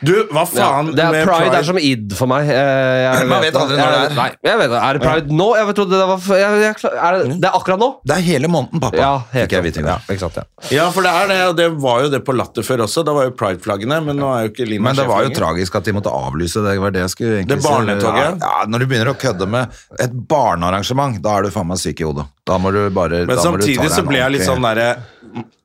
Speaker 3: Du, hva faen
Speaker 2: det er
Speaker 3: med
Speaker 2: pride, er som id for meg. Eh, Jeg,
Speaker 1: Man vet aldri når
Speaker 2: jeg-
Speaker 1: det er.
Speaker 2: Nei, jeg vet, det. er det pride nå? Jeg trodde det var jeg, jeg, er
Speaker 1: Mm.
Speaker 2: det, det er akkurat nå?
Speaker 1: Det er hele måneden, pappa.
Speaker 2: Ja,
Speaker 1: fikk
Speaker 2: helt
Speaker 1: jeg vite i
Speaker 2: sant.
Speaker 1: går.
Speaker 2: Ja, ikke sant, ja.
Speaker 3: Ja, for det er det, og det var jo det på Latter før også. Da var jo Pride-flaggene, men nå er jo ikke Lina
Speaker 1: Men det var jo
Speaker 3: sjef lenger.
Speaker 1: tragisk at de måtte avlyse. Det var det jeg skulle egentlig
Speaker 3: Det
Speaker 1: si.
Speaker 3: barnetoget?
Speaker 1: Ja, når du begynner å kødde med et barnearrangement, da er du faen meg syk i hodet. Da må du bare
Speaker 3: Men
Speaker 1: da må du ta
Speaker 3: samtidig
Speaker 1: deg
Speaker 3: så
Speaker 1: en
Speaker 3: ble jeg litt
Speaker 1: ordentlig-
Speaker 3: sånn derre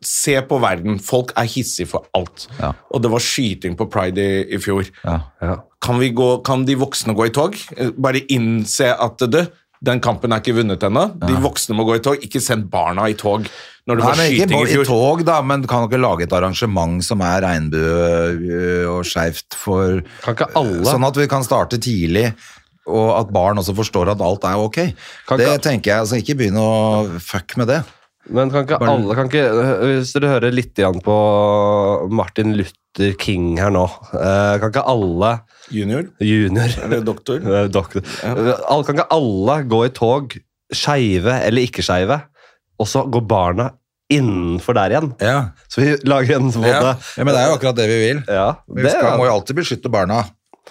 Speaker 3: Se på verden. Folk er hissige for alt.
Speaker 1: Ja.
Speaker 3: Og det var skyting på Pride i, i fjor.
Speaker 1: ja.
Speaker 2: Ja.
Speaker 3: Kan, vi gå, kan de voksne gå i tog? Eh, Bare innse at du den kampen er ikke vunnet ennå. De voksne må gå i tog. Ikke send barna i tog når det
Speaker 1: Nei,
Speaker 3: var
Speaker 1: men ikke
Speaker 3: skyting i
Speaker 1: i
Speaker 3: fjor.
Speaker 1: tog, da, men du kan dere lage et arrangement som er regnbue ø, og skeivt for
Speaker 2: Kan ikke alle-
Speaker 1: Sånn at vi kan starte tidlig, og at barn også forstår at alt er ok.
Speaker 2: Kan
Speaker 1: det
Speaker 2: ikke-
Speaker 1: tenker jeg, altså Ikke begynn å fuck med det.
Speaker 2: Men kan ikke alle kan ikke, Hvis dere hører litt igjen på Martin Luther King her nå eh, Kan ikke alle
Speaker 3: Junior?
Speaker 2: junior
Speaker 3: Eller doktor?
Speaker 2: Eh, doktor. Eh, alle- Kan ikke alle gå i tog, skeive eller ikke skeive, og så går barna innenfor der igjen?
Speaker 1: Ja.
Speaker 2: Så vi lager en både
Speaker 1: ja, men det er jo akkurat det vi vil.
Speaker 2: Ja,
Speaker 1: Vi
Speaker 2: det
Speaker 1: skal, må
Speaker 2: er
Speaker 1: jo alltid beskytte barna.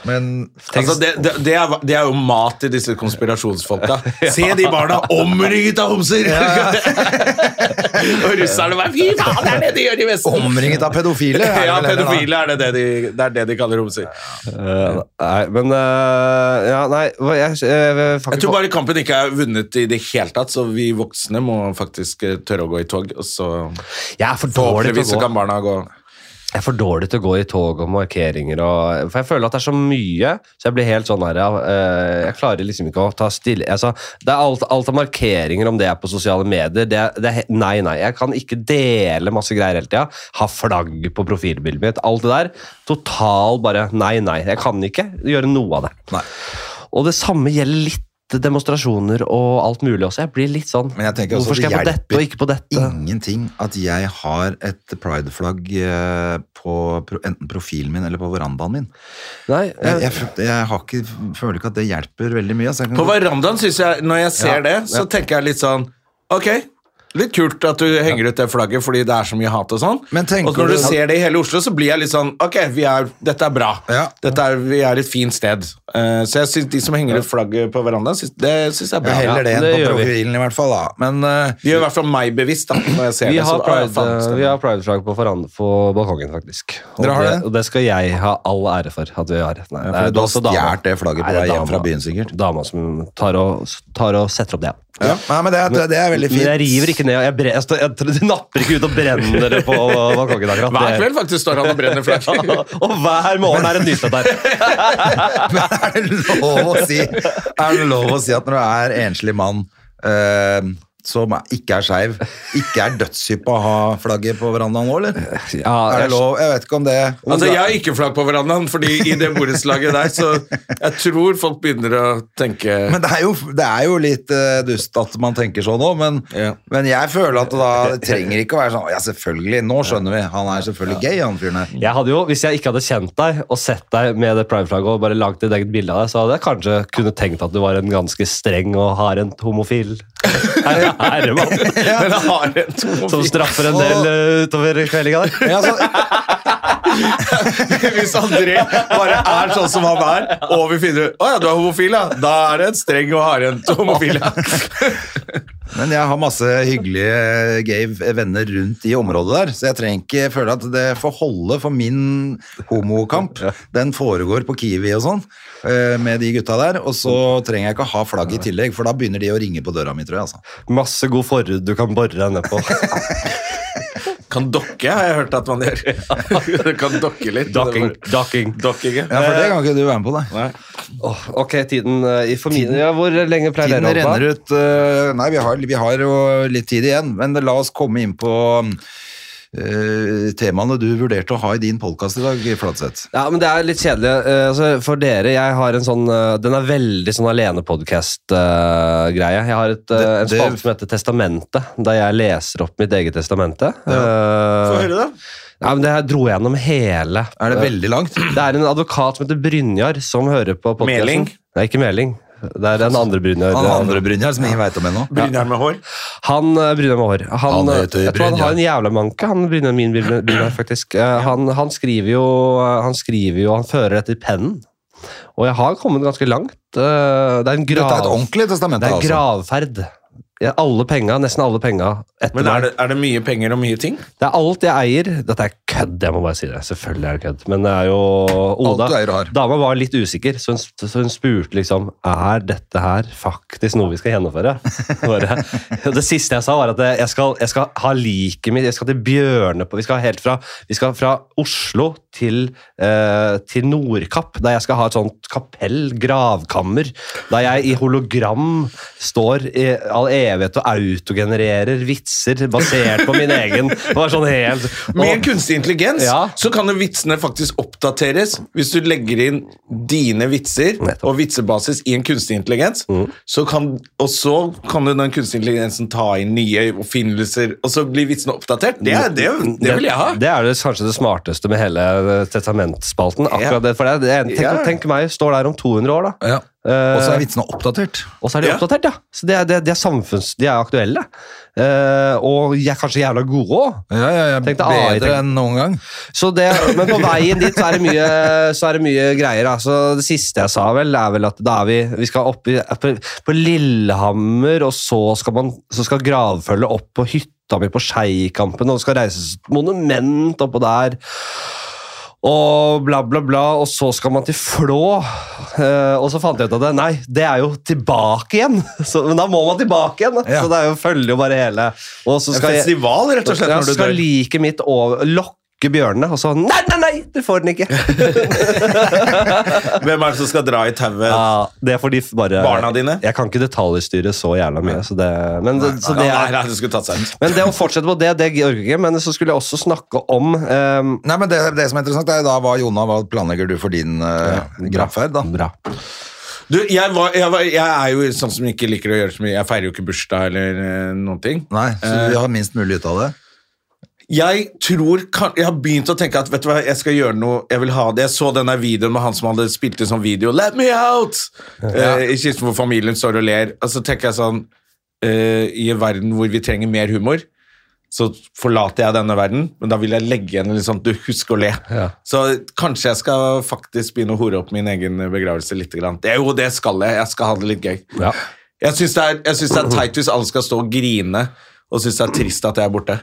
Speaker 1: Men
Speaker 2: Tenk-
Speaker 3: Altså, det, det, det, er, det er jo mat til disse konspirasjonsfolka. Se de barna omringet av homser! og russerne bare Fy faen, det er det de gjør i Vesten!
Speaker 1: omringet av pedofile! er det
Speaker 3: Ja,
Speaker 1: vel heller, da.
Speaker 3: pedofile er det det de, det er det de kaller homser.
Speaker 2: Eh, Nei, men eh, Ja, nei hva- Jeg, jeg, jeg, fuck,
Speaker 3: Jeg tror bare kampen ikke er vunnet i det hele tatt, så vi voksne må faktisk eh, tørre å gå i tog. Og så
Speaker 2: jeg er for dårlig til
Speaker 3: forhåpentligvis
Speaker 2: å
Speaker 3: så
Speaker 2: gå
Speaker 3: kan barna gå.
Speaker 2: Jeg er for dårlig til å gå i tog og markeringer og For jeg føler at det er så mye, så jeg blir helt sånn her ja, eh, Jeg klarer liksom ikke å ta stille altså, Det er alt, alt av markeringer, om det er på sosiale medier det, er- det er, he- Nei, nei. Jeg kan ikke dele masse greier hele tida. Ha flagg på profilbildet mitt. Alt det der. Total bare Nei, nei. Jeg kan ikke gjøre noe av det.
Speaker 1: Nei.
Speaker 2: Og det samme gjelder litt demonstrasjoner og alt mulig også. Jeg blir litt sånn
Speaker 1: Men jeg tenker også
Speaker 2: Hvorfor
Speaker 1: det
Speaker 2: skal jeg på dette
Speaker 1: hjelper
Speaker 2: og ikke på dette?
Speaker 1: ingenting at jeg har et prideflagg eh, på pro- enten profilen min eller på verandaen min.
Speaker 2: Nei,
Speaker 1: Jeg, jeg, fø- jeg har ikke, føler ikke at det hjelper veldig mye. Altså jeg kan,
Speaker 3: På verandaen synes jeg, når jeg ser
Speaker 2: Ja,
Speaker 3: det, så tenker jeg litt sånn Ok, litt kult at du henger ut det flagget fordi det er så mye hat og sånn.
Speaker 1: Men tenker
Speaker 3: og når du
Speaker 1: du-
Speaker 3: ser det i hele Oslo, så blir jeg litt sånn Ok, vi er, dette er bra.
Speaker 1: Ja.
Speaker 3: Dette er, vi er et fint sted. Eh, så jeg synes de som henger ut flagget på verandaen, synes, det syns jeg er bra.
Speaker 1: jeg heller det
Speaker 2: Ja,
Speaker 1: enn
Speaker 2: det
Speaker 1: på
Speaker 2: gjør vi.
Speaker 1: profilen, i hvert fall. Da. Men eh,
Speaker 3: De gjør i hvert fall meg bevisst, da. Når jeg ser
Speaker 2: Vi
Speaker 3: det,
Speaker 2: har,
Speaker 3: så- ah, ja,
Speaker 2: pride,
Speaker 3: faen, stemmer.
Speaker 2: vi har prideflagg på, foran- på balkongen, faktisk. Og
Speaker 1: Dere har det?
Speaker 2: og det skal jeg ha all ære for at vi har. Nei,
Speaker 1: for du har stjålet det flagget på
Speaker 2: Nei, det er
Speaker 1: vei hjem fra
Speaker 2: dama-
Speaker 1: byen, sikkert.
Speaker 2: Dama som tar og, tar og setter opp det.
Speaker 1: ja. Nei, men det, er- det er veldig
Speaker 2: Men
Speaker 1: fint.
Speaker 2: jeg river ikke ned. og Jeg, bre, jeg, står- jeg, jeg napper ikke ut og brenner dere på balkongen akkurat.
Speaker 3: Hver
Speaker 2: eh, Det-
Speaker 3: kveld faktisk står han og brenner flagg.
Speaker 2: og hver morgen er det nytt der.
Speaker 1: Men er det lov å si Er det lov å si at når du er enslig mann eh, som er- ikke er skeiv, ikke er dødshypp på å ha flagget på verandaen nå, eller?
Speaker 3: Eh,
Speaker 2: Ja,
Speaker 1: Er det
Speaker 2: jeg,
Speaker 1: lov? Jeg vet ikke om det
Speaker 3: Altså, Jeg har ikke flagg på verandaen, fordi i det borettslaget der, så jeg tror folk begynner å tenke
Speaker 1: Men det er, jo, det er jo litt eh, dust at man tenker sånn òg, men,
Speaker 3: Ja.
Speaker 1: men jeg føler at det da det trenger ikke å være sånn Ja, selvfølgelig, nå skjønner vi. Han er selvfølgelig gay, han fyren her.
Speaker 2: jeg hadde jo, Hvis jeg ikke hadde kjent deg og sett deg med det prideflagget og bare laget et eget bilde av deg, så hadde jeg kanskje kunne tenkt at du var en ganske streng og hardhendt homofil herre- herremann.
Speaker 3: Men jeg har en tomofil.
Speaker 2: Som straffer en del eh, utover kveldinga der.
Speaker 1: Ja, så,
Speaker 3: altså- Hvis André bare er sånn som han er, og vi finner ut Å ja, du er homofil, ja. Da er det en streng og hardhendt homofil, ja.
Speaker 1: Men jeg har masse hyggelige gay venner rundt i området der, så jeg trenger ikke føle at det får holde for min homokamp. Den foregår på Kiwi og sånn, eh, med de gutta der, og så trenger jeg ikke ha flagg i tillegg, for da begynner de å ringe på døra mi, tror jeg, altså.
Speaker 2: Masse god forhud du kan bore deg ned på.
Speaker 3: Kan dokke, har jeg hørt at man gjør. Du kan dokke litt.
Speaker 2: Docking. docking.
Speaker 3: Dokking, ja.
Speaker 1: Ja, for det kan ikke du være med på, da.
Speaker 3: Nei.
Speaker 2: Åh, ok, tiden eh, i for min, ja, Hvor lenge pleier
Speaker 1: Tiden
Speaker 2: dere å
Speaker 1: renner
Speaker 2: holde?
Speaker 1: ut eh, Nei, vi har, vi har jo litt tid igjen, men la oss komme inn på mm, eh, temaene du vurderte å ha i din podkast i dag, Fladseth.
Speaker 2: Ja, men Det er litt kjedelig. eh, altså, for dere, jeg har en sånn eh, Den er veldig sånn alene-podkast-greie. jeg har et, eh,
Speaker 1: Det- det-
Speaker 2: en spalte som heter Testamentet, der jeg leser opp mitt eget testamente.
Speaker 3: Få
Speaker 2: Eh,
Speaker 3: høre, da.
Speaker 2: ja, men det her dro jeg gjennom hele.
Speaker 1: Er det veldig langt?
Speaker 2: Det er en advokat som heter Brynjar, som hører på podkasten.
Speaker 3: Meling?
Speaker 2: Nei, ikke Meling. Det er den andre Brynjar.
Speaker 1: Han andre Brynjar som ingen veit om ennå.
Speaker 3: Brynjar med hår.
Speaker 2: Han eh, Brynjar med hår. Han, eh,
Speaker 1: Han heter
Speaker 2: jeg tror han
Speaker 1: Brynjar.
Speaker 2: har en jævla manke, han Brynjar min Brynjar, Brynjar, faktisk. Eh, Han, han skriver jo eh, Han skriver jo, han fører dette i pennen. Og jeg har kommet ganske langt. Eh, Det er en,
Speaker 1: Dette er et
Speaker 2: grav,
Speaker 1: ordentlig testament,
Speaker 2: det er en
Speaker 1: altså.
Speaker 2: gravferd. Ja, alle penga, nesten alle penga. etter
Speaker 3: Men er
Speaker 2: meg.
Speaker 3: det, er det mye penger og mye ting?
Speaker 2: Det er alt jeg eier. Dette er kødd, jeg må bare si det. Selvfølgelig er det kødd. Men det er jo Oda.
Speaker 1: Alt du eier og har.
Speaker 2: Dama var litt usikker, så hun, så hun spurte liksom Er dette her faktisk noe vi skal gjennomføre. Bare, det siste jeg sa, var at jeg skal, jeg skal ha liket mitt Jeg skal til Bjørne på Vi skal helt fra, vi skal fra Oslo til, eh, til Nordkapp, der jeg skal ha et sånt kapell, gravkammer, der jeg i hologram står i all evighet og autogenererer vitser basert på min egen Det var sånn helt
Speaker 3: Med
Speaker 2: og-
Speaker 3: kunstig intelligens
Speaker 2: Ja.
Speaker 3: så kan jo vitsene faktisk oppdateres. Hvis du legger inn dine vitser
Speaker 2: Nettopp.
Speaker 3: og vitsebasis i en kunstig intelligens, så kan, og så kan du den kunstige intelligensen ta inn nye oppfinnelser, og så blir vitsene oppdatert. Det, er- det, det vil jeg ha.
Speaker 2: Det er det, kanskje det smarteste med hele eh, testamentspalten. akkurat
Speaker 3: Ja.
Speaker 2: det, for det, er- det er- tenk,
Speaker 3: Ja.
Speaker 2: tenk meg, står der om 200 år, da.
Speaker 1: Ja.
Speaker 2: Eh,
Speaker 1: Og så er vitsene oppdatert.
Speaker 2: og så er de
Speaker 3: Ja.
Speaker 2: oppdatert, ja. Så de er, de er, de er samfunns... De er aktuelle. Eh, og jeg er kanskje jævla gode òg.
Speaker 1: Ja, ja, ja.
Speaker 2: Tenkte AI,
Speaker 1: Bedre
Speaker 2: tenk-
Speaker 1: enn noen gang.
Speaker 2: Så det, men på veien dit så er det mye, så er det mye greier. Da. Så det siste jeg sa, vel, er vel at da er vi, vi skal opp i, på, på Lillehammer, og så skal, man, så skal gravfølget opp på hytta mi på Skeikampen, og det skal reises et monument oppå der. Og bla, bla, bla, og så skal man til Flå. Eh, og så fant jeg ut at det, nei, det er jo tilbake igjen! Så, men da må man tilbake igjen! da.
Speaker 1: Ja.
Speaker 2: Så det er jo, følger jo bare hele. Og så
Speaker 3: En
Speaker 2: skal jeg,
Speaker 3: festival, rett og slett,
Speaker 2: ja,
Speaker 3: når du
Speaker 2: skal
Speaker 3: dør.
Speaker 2: like mitt over, lokke bjørnene, og så Nei, nei, nei! Du får den ikke!
Speaker 3: Hvem er det som skal dra i tauet?
Speaker 2: Ja, det er fordi f- bare
Speaker 3: Barna dine?
Speaker 2: Jeg kan ikke detaljstyre så jævla mye, så det Men, det- så
Speaker 3: nei,
Speaker 2: det
Speaker 3: nei,
Speaker 2: er,
Speaker 3: nei, det skulle tatt seg ut.
Speaker 2: men det å fortsette på det, det orker jeg ikke. Men så skulle jeg også snakke om ehm,
Speaker 1: Nei, men det, det som er interessant, er jo da hva Jona, hva planlegger du for din uh, gravferd, da?
Speaker 2: Bra.
Speaker 3: Du, jeg, var, jeg, var, jeg er jo sånn som ikke liker å gjøre så mye. Jeg feirer jo ikke bursdag eller eh, noen ting.
Speaker 1: Nei, så
Speaker 2: Eh.
Speaker 1: du har minst mulig ut av det?
Speaker 3: Jeg tror kan, Jeg har begynt å tenke at vet du hva, jeg skal gjøre noe Jeg vil ha det. Jeg så den der videoen med han som hadde spilt inn sånn video 'Let me out!' eh, I kisten hvor familien står og ler. Og så tenker jeg sånn eh, I en verden hvor vi trenger mer humor, så forlater jeg denne verden, men da vil jeg legge igjen litt sånn Du, husk å le.
Speaker 2: Ja.
Speaker 3: Så kanskje jeg skal faktisk begynne å hore opp min egen begravelse litt. Grann. Det, jo, det skal jeg. Jeg skal ha det litt gøy.
Speaker 2: Ja.
Speaker 3: Jeg syns det, er- jeg syns det er teit hvis alle skal stå og grine og synes det er trist at jeg er borte.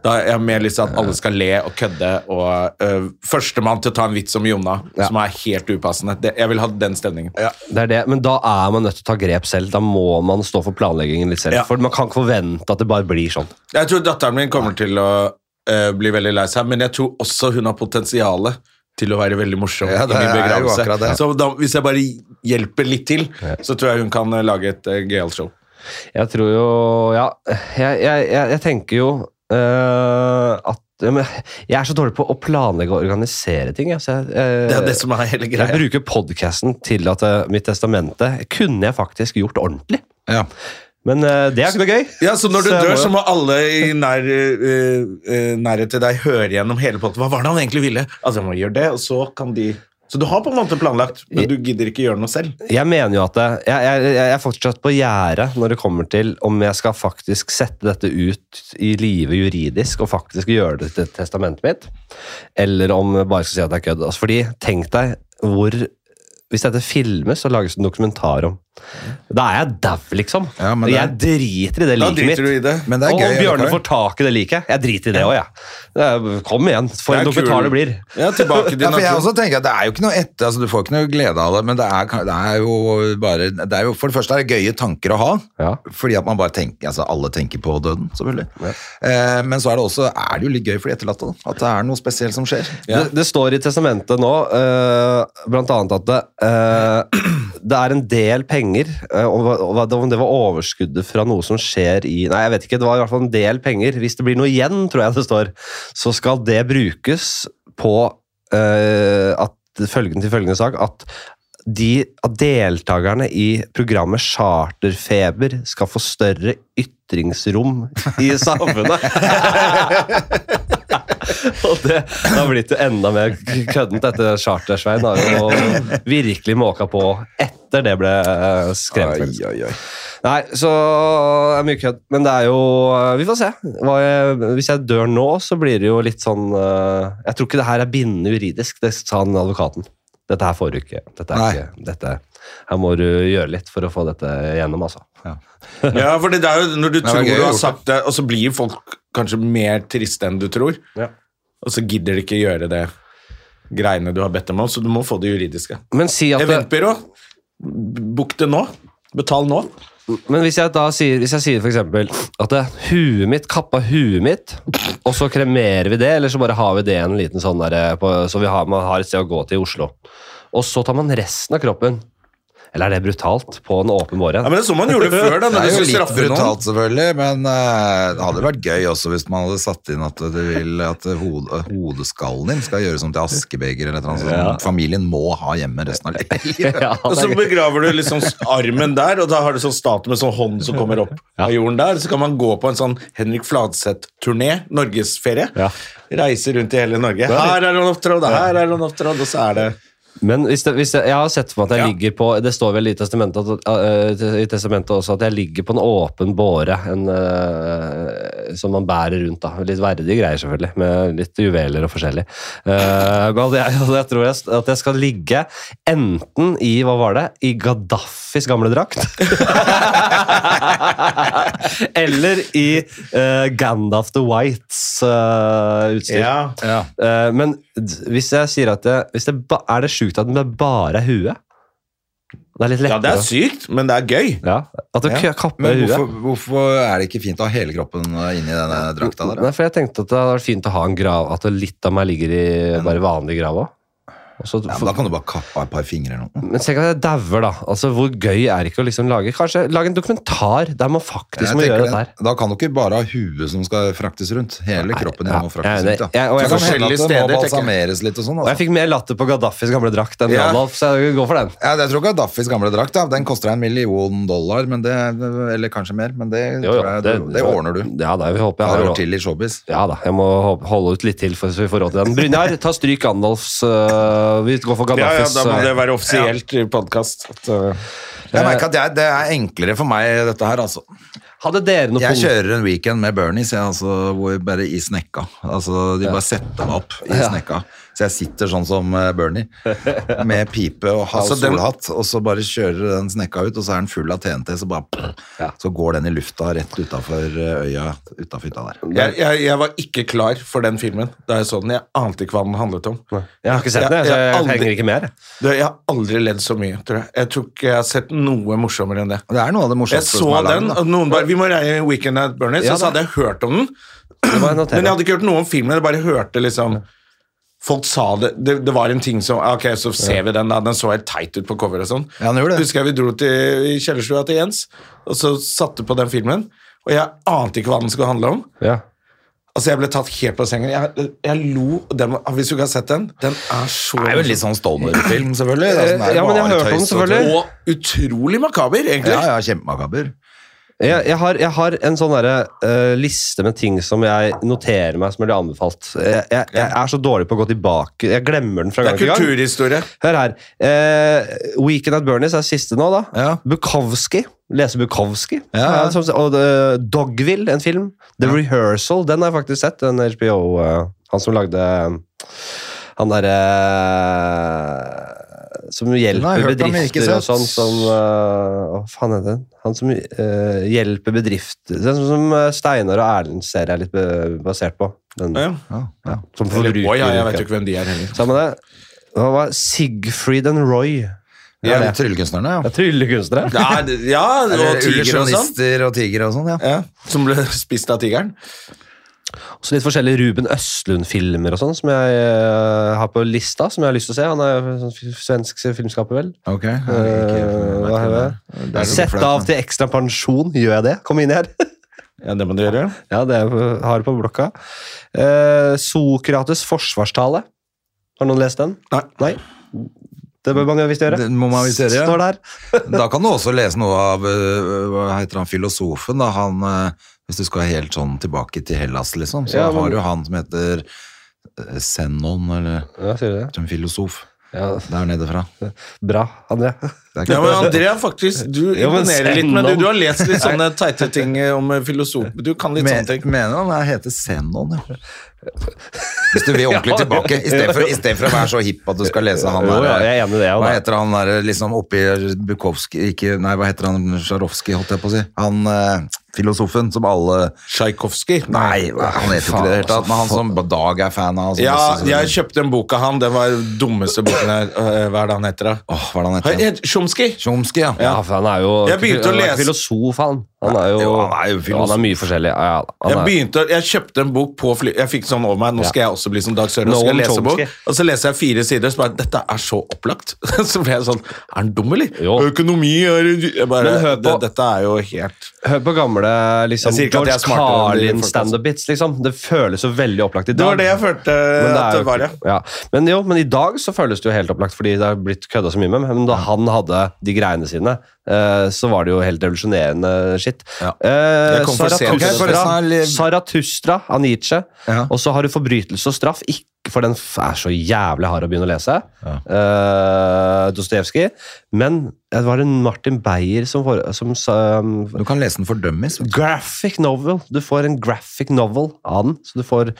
Speaker 3: Da er jeg mer lyst til at alle skal le og kødde og øh, Førstemann til å ta en vits om Jonna, som er helt upassende. Det, jeg vil ha den stemningen.
Speaker 2: Det er det, men da er man nødt til å ta grep selv. Da må man stå for planleggingen litt selv.
Speaker 3: Ja.
Speaker 2: For man kan ikke forvente at det bare blir sånn.
Speaker 3: Jeg tror datteren min kommer til å øh, bli veldig lei seg, men jeg tror også hun har potensial til å være veldig morsom
Speaker 1: Ja, det
Speaker 3: i min
Speaker 1: er jo
Speaker 3: begravelse.
Speaker 1: akkurat det.
Speaker 3: Så da, hvis jeg bare hjelper litt til, så tror jeg hun kan øh, lage et uh, gøyalt show.
Speaker 2: Jeg tror jo Ja, jeg, jeg, jeg, jeg tenker jo eh, at ja, men Jeg er så dårlig på å planlegge og organisere ting. Jeg, så jeg, eh,
Speaker 3: Det er det som er hele
Speaker 2: jeg
Speaker 3: greia.
Speaker 2: bruker podkasten til at eh, mitt testamente kunne jeg faktisk gjort ordentlig.
Speaker 1: Ja.
Speaker 2: Men eh, det er ikke noe gøy.
Speaker 3: Ja, Så når du
Speaker 2: Så jeg
Speaker 3: dør,
Speaker 2: må jo-
Speaker 3: så må alle i nær, eh, eh, nærhet til deg høre gjennom hele potten. Hva var det han egentlig ville? Altså, jeg må gjøre det, og så kan de Så du har på en måte planlagt, men du gidder ikke gjøre noe selv.
Speaker 2: Jeg mener jo at det, jeg, jeg, jeg er fortsatt på gjerdet når det kommer til om jeg skal faktisk sette dette ut i live juridisk og faktisk gjøre det til testamentet mitt, eller om jeg bare skal si at det er kødd. Altså, fordi, tenk deg hvor Hvis dette filmes og lages en dokumentar om, da er jeg dau, liksom.
Speaker 1: Ja, men
Speaker 2: Og
Speaker 1: det-
Speaker 2: jeg driter i det
Speaker 3: Da
Speaker 2: liket mitt.
Speaker 3: driter du i det.
Speaker 1: Men det er
Speaker 2: og
Speaker 1: gøy.
Speaker 2: om Bjørne
Speaker 1: allikevel.
Speaker 2: får tak i det liket. Jeg driter i det òg, jeg. Det er- Kom igjen, for
Speaker 3: Det
Speaker 2: en
Speaker 3: er
Speaker 2: dokumentar
Speaker 3: kul.
Speaker 2: det blir.
Speaker 3: Ja, tilbake til
Speaker 1: Ja, for jeg
Speaker 3: naturen.
Speaker 1: også tenker at det er jo ikke noe etter, altså Du får ikke noe glede av det, men det er, ka- det er jo bare det er jo, For det første er det gøye tanker å ha,
Speaker 2: Ja.
Speaker 1: fordi at man bare tenker altså Alle tenker på døden, selvfølgelig. Eh, men så er det også er det jo litt gøy for de etterlatte, da, at det er noe spesielt som skjer.
Speaker 2: Det, det står i testamentet nå eh, blant annet at det, eh, det er en del penger eh, om, hva- om hva- om det var overskuddet fra noe som skjer i Nei, jeg vet ikke. Det var i hvert fall en del penger. Hvis det blir noe igjen, tror jeg det står, så skal det brukes på eh, at, følgen til følgende sak at de, at deltakerne i programmet Charterfeber skal få større ytringsrom i samfunnet. Og det det har blitt jo enda mer køddent etter Charter-Svein. Har jo virkelig måka på etter det ble eh, skrevet. faktisk. Nei, så det er mye kødd. Men det er jo eh, Vi får se. Hva jeg, hvis jeg dør nå, så blir det jo litt sånn eh, Jeg tror ikke det her er bindende juridisk, det sa han advokaten. Dette her får du ikke. Dette
Speaker 1: Nei.
Speaker 2: er ikke dette. Her må du gjøre litt for å få dette gjennom, altså.
Speaker 3: Ja, for det er jo når du
Speaker 1: var
Speaker 3: tror
Speaker 1: gøy
Speaker 3: du har
Speaker 1: gjort.
Speaker 3: sagt det, og så blir folk kanskje mer triste enn du tror,
Speaker 2: Ja.
Speaker 3: og så gidder de ikke gjøre det greiene du har bedt dem om, så du må få det juridiske.
Speaker 2: Men si at det,
Speaker 3: Eventbyrå, bok det nå. Betal nå.
Speaker 2: Men hvis jeg da sier, hvis jeg sier for eksempel at det, huet mitt kappa huet mitt, og så kremerer vi det, eller så bare har vi det i en liten sånn der, på, så vi har, man har et sted å gå til i Oslo. Og så tar man resten av kroppen. Eller er det brutalt på en åpen
Speaker 3: Ja,
Speaker 2: morgen?
Speaker 3: men Det er sånn man gjorde før, da,
Speaker 1: Det er
Speaker 3: når du
Speaker 1: jo
Speaker 3: skulle
Speaker 1: litt
Speaker 3: straffe noen.
Speaker 1: brutalt, selvfølgelig, men eh, det hadde vært gøy også hvis man hadde satt inn at, det vil, at hode, hodeskallen din skal gjøres om til askebeger eller et eller annet. sånt. Familien må ha hjemme resten av livet.
Speaker 2: Ja,
Speaker 3: Og
Speaker 2: det
Speaker 3: så
Speaker 2: er gøy.
Speaker 3: begraver du liksom armen der, og da har du sånn statue med sånn hånd som kommer opp av jorden der. Så kan man gå på en sånn Henrik Fladseth-turné, norgesferie.
Speaker 2: Ja.
Speaker 3: Reise rundt i hele Norge. Her er han opptrådt, her er han opptrådt, og så er det
Speaker 2: Men hvis det, hvis det, jeg har sett for meg at jeg
Speaker 3: Ja.
Speaker 2: ligger på Det står vel i testamentet, at, eh, i testamentet også at jeg ligger på en åpen båre en, eh, som man bærer rundt. da. Litt verdige greier, selvfølgelig, med litt juveler og forskjellig. Eh, men jeg, jeg tror jeg, at jeg skal ligge enten i hva var det, i Gaddafis gamle drakt Eller i eh, Gandalf the Whites eh, utstyr.
Speaker 3: Ja.
Speaker 1: Ja.
Speaker 2: Eh, men d- hvis jeg sier at det, hvis det ba, Er det sjukt at det bare er huet? Det er litt
Speaker 3: ja, det
Speaker 2: lettere.
Speaker 3: er sykt, men det er gøy.
Speaker 2: Ja, At du
Speaker 1: Ja,
Speaker 2: kø- kapper
Speaker 1: Men hvorfor,
Speaker 2: huet.
Speaker 1: hvorfor er det ikke fint å ha hele kroppen eh, inni denne drakta der?
Speaker 2: Nei, for jeg tenkte at det hadde vært fint å ha en grav At litt av meg ligger i bare vanlig grav òg.
Speaker 1: Ja, men da kan du bare kappe av et par fingre eller noe.
Speaker 2: Men tenk at jeg dauer, da. Altså, Hvor gøy er det ikke å liksom lage Kanskje lage en dokumentar der man faktisk
Speaker 1: Jeg
Speaker 2: må
Speaker 1: tenker
Speaker 2: gjøre dette
Speaker 1: det,
Speaker 2: her.
Speaker 1: da kan du ikke bare ha huet som skal fraktes rundt. Hele kroppen din
Speaker 2: ja,
Speaker 1: må
Speaker 2: jeg er
Speaker 1: fraktes
Speaker 2: enig.
Speaker 1: rundt. Ja.
Speaker 2: Jeg- og jeg
Speaker 1: Så det kan
Speaker 3: kan
Speaker 1: hende
Speaker 3: forskjellige
Speaker 1: at det
Speaker 3: steder,
Speaker 1: må
Speaker 3: tenker jeg.
Speaker 1: balsameres litt og sånn.
Speaker 2: Og jeg
Speaker 1: Altså.
Speaker 2: fikk mer latter på Gaddafis gamle drakt enn
Speaker 3: Ja.
Speaker 2: Randolph, så jeg går for den.
Speaker 1: Ja, jeg tror Gaddafis gamle drakt da. Den koster deg en million dollar, men det, eller kanskje mer, men det,
Speaker 2: Jo, jo,
Speaker 1: tror jeg, det, det ordner du.
Speaker 2: Ja, da, vi
Speaker 1: Ja,
Speaker 2: håper
Speaker 1: det
Speaker 2: jeg har
Speaker 1: år
Speaker 2: råd.
Speaker 1: til i showbiz.
Speaker 2: Ja da, jeg må ho- holde ut litt til for, så vi får råd til den. Brynjar, ta stryk Gandalfs. øh, vi går for
Speaker 3: Ja, ja,
Speaker 2: Gandalfs.
Speaker 3: da må
Speaker 2: øh,
Speaker 3: det være offisielt eh, podkast.
Speaker 1: Jeg merker at jeg, det er enklere for meg, dette her, altså.
Speaker 2: Hadde dere noe
Speaker 1: Jeg
Speaker 2: punkt?
Speaker 1: kjører en weekend med Bernies, jeg, altså, hvor jeg bare i snekka. Altså, de bare setter meg opp i snekka. Så jeg sitter sånn som eh, Bernie, med pipe og halv
Speaker 3: Altså, den-
Speaker 1: solhatt, og så bare kjører den snekka ut, og så er den full av TNT, så bare
Speaker 2: Ja.
Speaker 1: Så går den i lufta rett utafor eh, øya, utafor hytta der.
Speaker 3: Jeg, jeg, jeg var ikke klar for den filmen da jeg så den. Jeg ante ikke hva den handlet om.
Speaker 2: Jeg har ikke sett den, jeg,
Speaker 3: Jeg-
Speaker 2: så
Speaker 3: jeg
Speaker 2: jeg
Speaker 3: aldri-
Speaker 2: trenger ikke mer. jeg.
Speaker 3: Du, jeg har aldri ledd så mye, tror jeg. Jeg tror ikke jeg har sett noe morsommere enn det.
Speaker 1: Og det er noe av det
Speaker 3: Jeg
Speaker 1: morsomste
Speaker 3: så
Speaker 1: som er
Speaker 3: den,
Speaker 1: lagd. da.
Speaker 3: og noen bare Vi må reie Weekend at Bernies,
Speaker 2: Ja,
Speaker 3: og
Speaker 2: da.
Speaker 3: så hadde jeg hørt om den.
Speaker 2: Det må jeg notere.
Speaker 3: Men jeg hadde ikke hørt noe om filmen, jeg bare hørte liksom Folk sa det, det Det var en ting som ah, Ok, så ser vi den, da. Den så helt teit ut på coveret og sånn.
Speaker 1: Ja, den gjorde det.
Speaker 3: Husker jeg vi dro til i kjellerstua til Jens, og så satte på den filmen. Og jeg ante ikke hva den skulle handle om.
Speaker 2: Ja.
Speaker 3: Altså, jeg ble tatt helt på sengen. Jeg, jeg lo og den, var- Hvis du ikke har sett den, den er så Eh,
Speaker 1: Det er jo litt sånn Stoner-film, selvfølgelig. Det er sånn der
Speaker 2: Ja, men
Speaker 1: bare
Speaker 2: jeg hørte om
Speaker 1: tøys
Speaker 2: den,
Speaker 1: og
Speaker 2: selvfølgelig.
Speaker 3: Og utrolig makaber, egentlig.
Speaker 1: Ja, ja, kjempemakaber.
Speaker 2: Jeg, jeg, har, jeg har en sånn derre, eh, liste med ting som jeg noterer meg som blir anbefalt. Jeg, jeg, jeg er så dårlig på å gå tilbake. Jeg glemmer den fra gang
Speaker 3: Det er
Speaker 2: til gang.
Speaker 3: kulturhistorie.
Speaker 2: Hør her. Eh, Weekend at Bernies er siste nå, da.
Speaker 1: Ja.
Speaker 2: Bukowski. Lese Bukowski.
Speaker 1: Ja, ja.
Speaker 2: som- og eh, Dogville, en film. The Rehearsal, den har jeg faktisk sett. Den HBO eh, Han som lagde eh, Han derre eh, Som
Speaker 1: har
Speaker 2: hjelper
Speaker 1: jeg hørt om, men ikke
Speaker 2: bedrifter og
Speaker 1: sett.
Speaker 2: sånn som eh, Hva faen heter den? Han som eh, hjelper bedrifter Det er sånn som eh, Steinar og Erlend ser jeg er litt eh, basert på. Den,
Speaker 3: Ja.
Speaker 1: Ja, ja.
Speaker 2: Som
Speaker 3: Eller Boy, ja, jeg vet
Speaker 2: forbruker.
Speaker 3: jo ikke hvem de er heller.
Speaker 2: Sammen med det. Hva var Sigfried and Roy?
Speaker 1: ja
Speaker 3: Ja.
Speaker 1: det er Tryllekunstnerne, ja.
Speaker 2: Det er Tryllekunstnere.
Speaker 3: Ja, det- ja og
Speaker 1: Eller
Speaker 3: tiger og sånn.
Speaker 1: illusjonister og tiger og sånn, ja.
Speaker 3: Ja, som ble spist av tigeren.
Speaker 2: Også litt forskjellige Ruben Østlund-filmer og sånn som jeg eh, har på lista, som jeg har lyst til å se. Han er jo sånn f- svensk filmskaper, vel.
Speaker 1: Ok. jeg
Speaker 2: Eh,
Speaker 1: vet ikke, jeg vet
Speaker 2: hva
Speaker 1: ikke
Speaker 2: er
Speaker 1: det er. Det er
Speaker 2: det?
Speaker 1: så
Speaker 2: Sett
Speaker 1: flaut,
Speaker 2: av
Speaker 1: men-
Speaker 2: til ekstra pensjon, gjør jeg det? Kom inn her.
Speaker 3: Ja, det må du gjøre.
Speaker 2: ja, det er- har jeg på blokka. Eh, Sokrates' forsvarstale. Har noen lest den?
Speaker 3: Nei.
Speaker 2: Det bør man jo visst gjøre.
Speaker 1: Det må man visst gjøre, ja.
Speaker 2: Står der.
Speaker 1: Da kan du også lese noe av øh, hva heter han, filosofen. da, han, øh, Hvis du skal helt sånn tilbake til Hellas, liksom, så
Speaker 2: Ja, men-
Speaker 1: har du han som heter øh, Zenon, eller
Speaker 2: Ja, sier du det?
Speaker 1: en filosof
Speaker 2: Ja,
Speaker 1: der nede fra.
Speaker 2: bra, André.
Speaker 1: Det er ikke-
Speaker 3: Ja, men Andrea, faktisk, du
Speaker 2: Ja, men
Speaker 3: imponerer litt,
Speaker 2: Zenon.
Speaker 3: men du, du har lest litt sånne teite ting eh, om filosofer. Du kan litt
Speaker 1: Men-
Speaker 3: sånne ting.
Speaker 1: Mener han er- heter Zenon, ja. Hvis du vil ordentlig tilbake, i stedet for, i stedet for å være så hipp at du skal lese han
Speaker 2: Jo,
Speaker 1: der.
Speaker 2: ja, jeg er enig i det, ja,
Speaker 1: hva
Speaker 2: da.
Speaker 1: heter han der liksom oppi Bukowski ikke, Nei, hva heter han Sjarovskij, holdt jeg på å si. Han eh, filosofen som alle
Speaker 3: Tsjajkovskij?
Speaker 1: Nei, han heter jo ikke det i det hele tatt, men han som Dag er fan av. som
Speaker 3: Ja,
Speaker 1: også-
Speaker 3: jeg kjøpte en bok av han. Den var den dummeste boken her. Øh, Hva er det han heter, da?
Speaker 1: Åh, hva er det han
Speaker 3: Han
Speaker 1: heter?
Speaker 3: heter Chomsky.
Speaker 1: Chomsky, ja.
Speaker 2: Ja, for han er jo
Speaker 3: Jeg begynte å
Speaker 2: han er
Speaker 3: lese-
Speaker 2: filosof, han. Han er jo,
Speaker 1: Jo, han er jo filosof.
Speaker 2: han er mye forskjellig. Ja, ja, han
Speaker 3: Jeg
Speaker 2: er-
Speaker 3: begynte, jeg kjøpte en bok på fly... Jeg fikk sånn over meg, nå skal jeg også bli som Dag Søren.
Speaker 2: Noam
Speaker 3: og skal lese bok.
Speaker 2: Chomsky.
Speaker 3: Og så leser jeg fire sider, så bare Dette er så opplagt. Så ble jeg sånn Er han dum, eller?
Speaker 2: Jo.
Speaker 3: Økonomi er jeg bare,
Speaker 2: Men hør
Speaker 3: det,
Speaker 2: på-
Speaker 3: Dette er jo helt
Speaker 2: Hør på gamle liksom,
Speaker 3: Jeg sier ikke at
Speaker 2: George
Speaker 3: jeg er smartere enn de folka, altså.
Speaker 2: Carlin-standup-bits. Liksom. Det føles jo veldig opplagt i dag.
Speaker 3: Det var det jeg følte
Speaker 2: Men, det
Speaker 3: at
Speaker 2: er jo
Speaker 3: det var, ja.
Speaker 2: ikke- ja. men jo, men i dag så føles det jo helt opplagt, fordi det har blitt kødda så mye med. Men da han hadde de greiene sine, eh, så var det jo helt revolusjonerende shit.
Speaker 1: Ja.
Speaker 2: Eh,
Speaker 3: Jeg kom for sent.
Speaker 1: Ok, forresten
Speaker 2: Zarathustra,
Speaker 1: er liv-
Speaker 2: Zarathustra av Nietzsche.
Speaker 1: Ja.
Speaker 2: Og så har du forbrytelse og straff. Ikke for den f- er så jævlig hard å begynne å lese.
Speaker 1: Ja.
Speaker 2: Eh, Dostojevskij. Men det var en Martin Beyer som, for, som sa,
Speaker 1: Du kan lese den for dummies. vet du.
Speaker 2: Graphic novel. Du får en graphic novel av den, så du får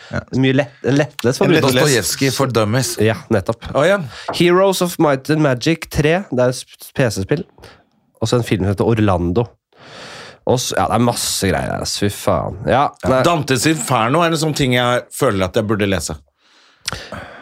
Speaker 2: mye lett, en lettlest for
Speaker 1: En
Speaker 2: brukeren.
Speaker 1: Dostojevskij for dummies.
Speaker 2: Ja, nettopp.
Speaker 3: Å, ja.
Speaker 2: Heroes of Might and Magic 3. Det er et PC-spill. Og så en film som heter Orlando. Og så, ja, det er masse greier her. ass. Fy faen. Ja, nei,
Speaker 3: Dantes Inferno er en sånn ting jeg føler at jeg burde lese.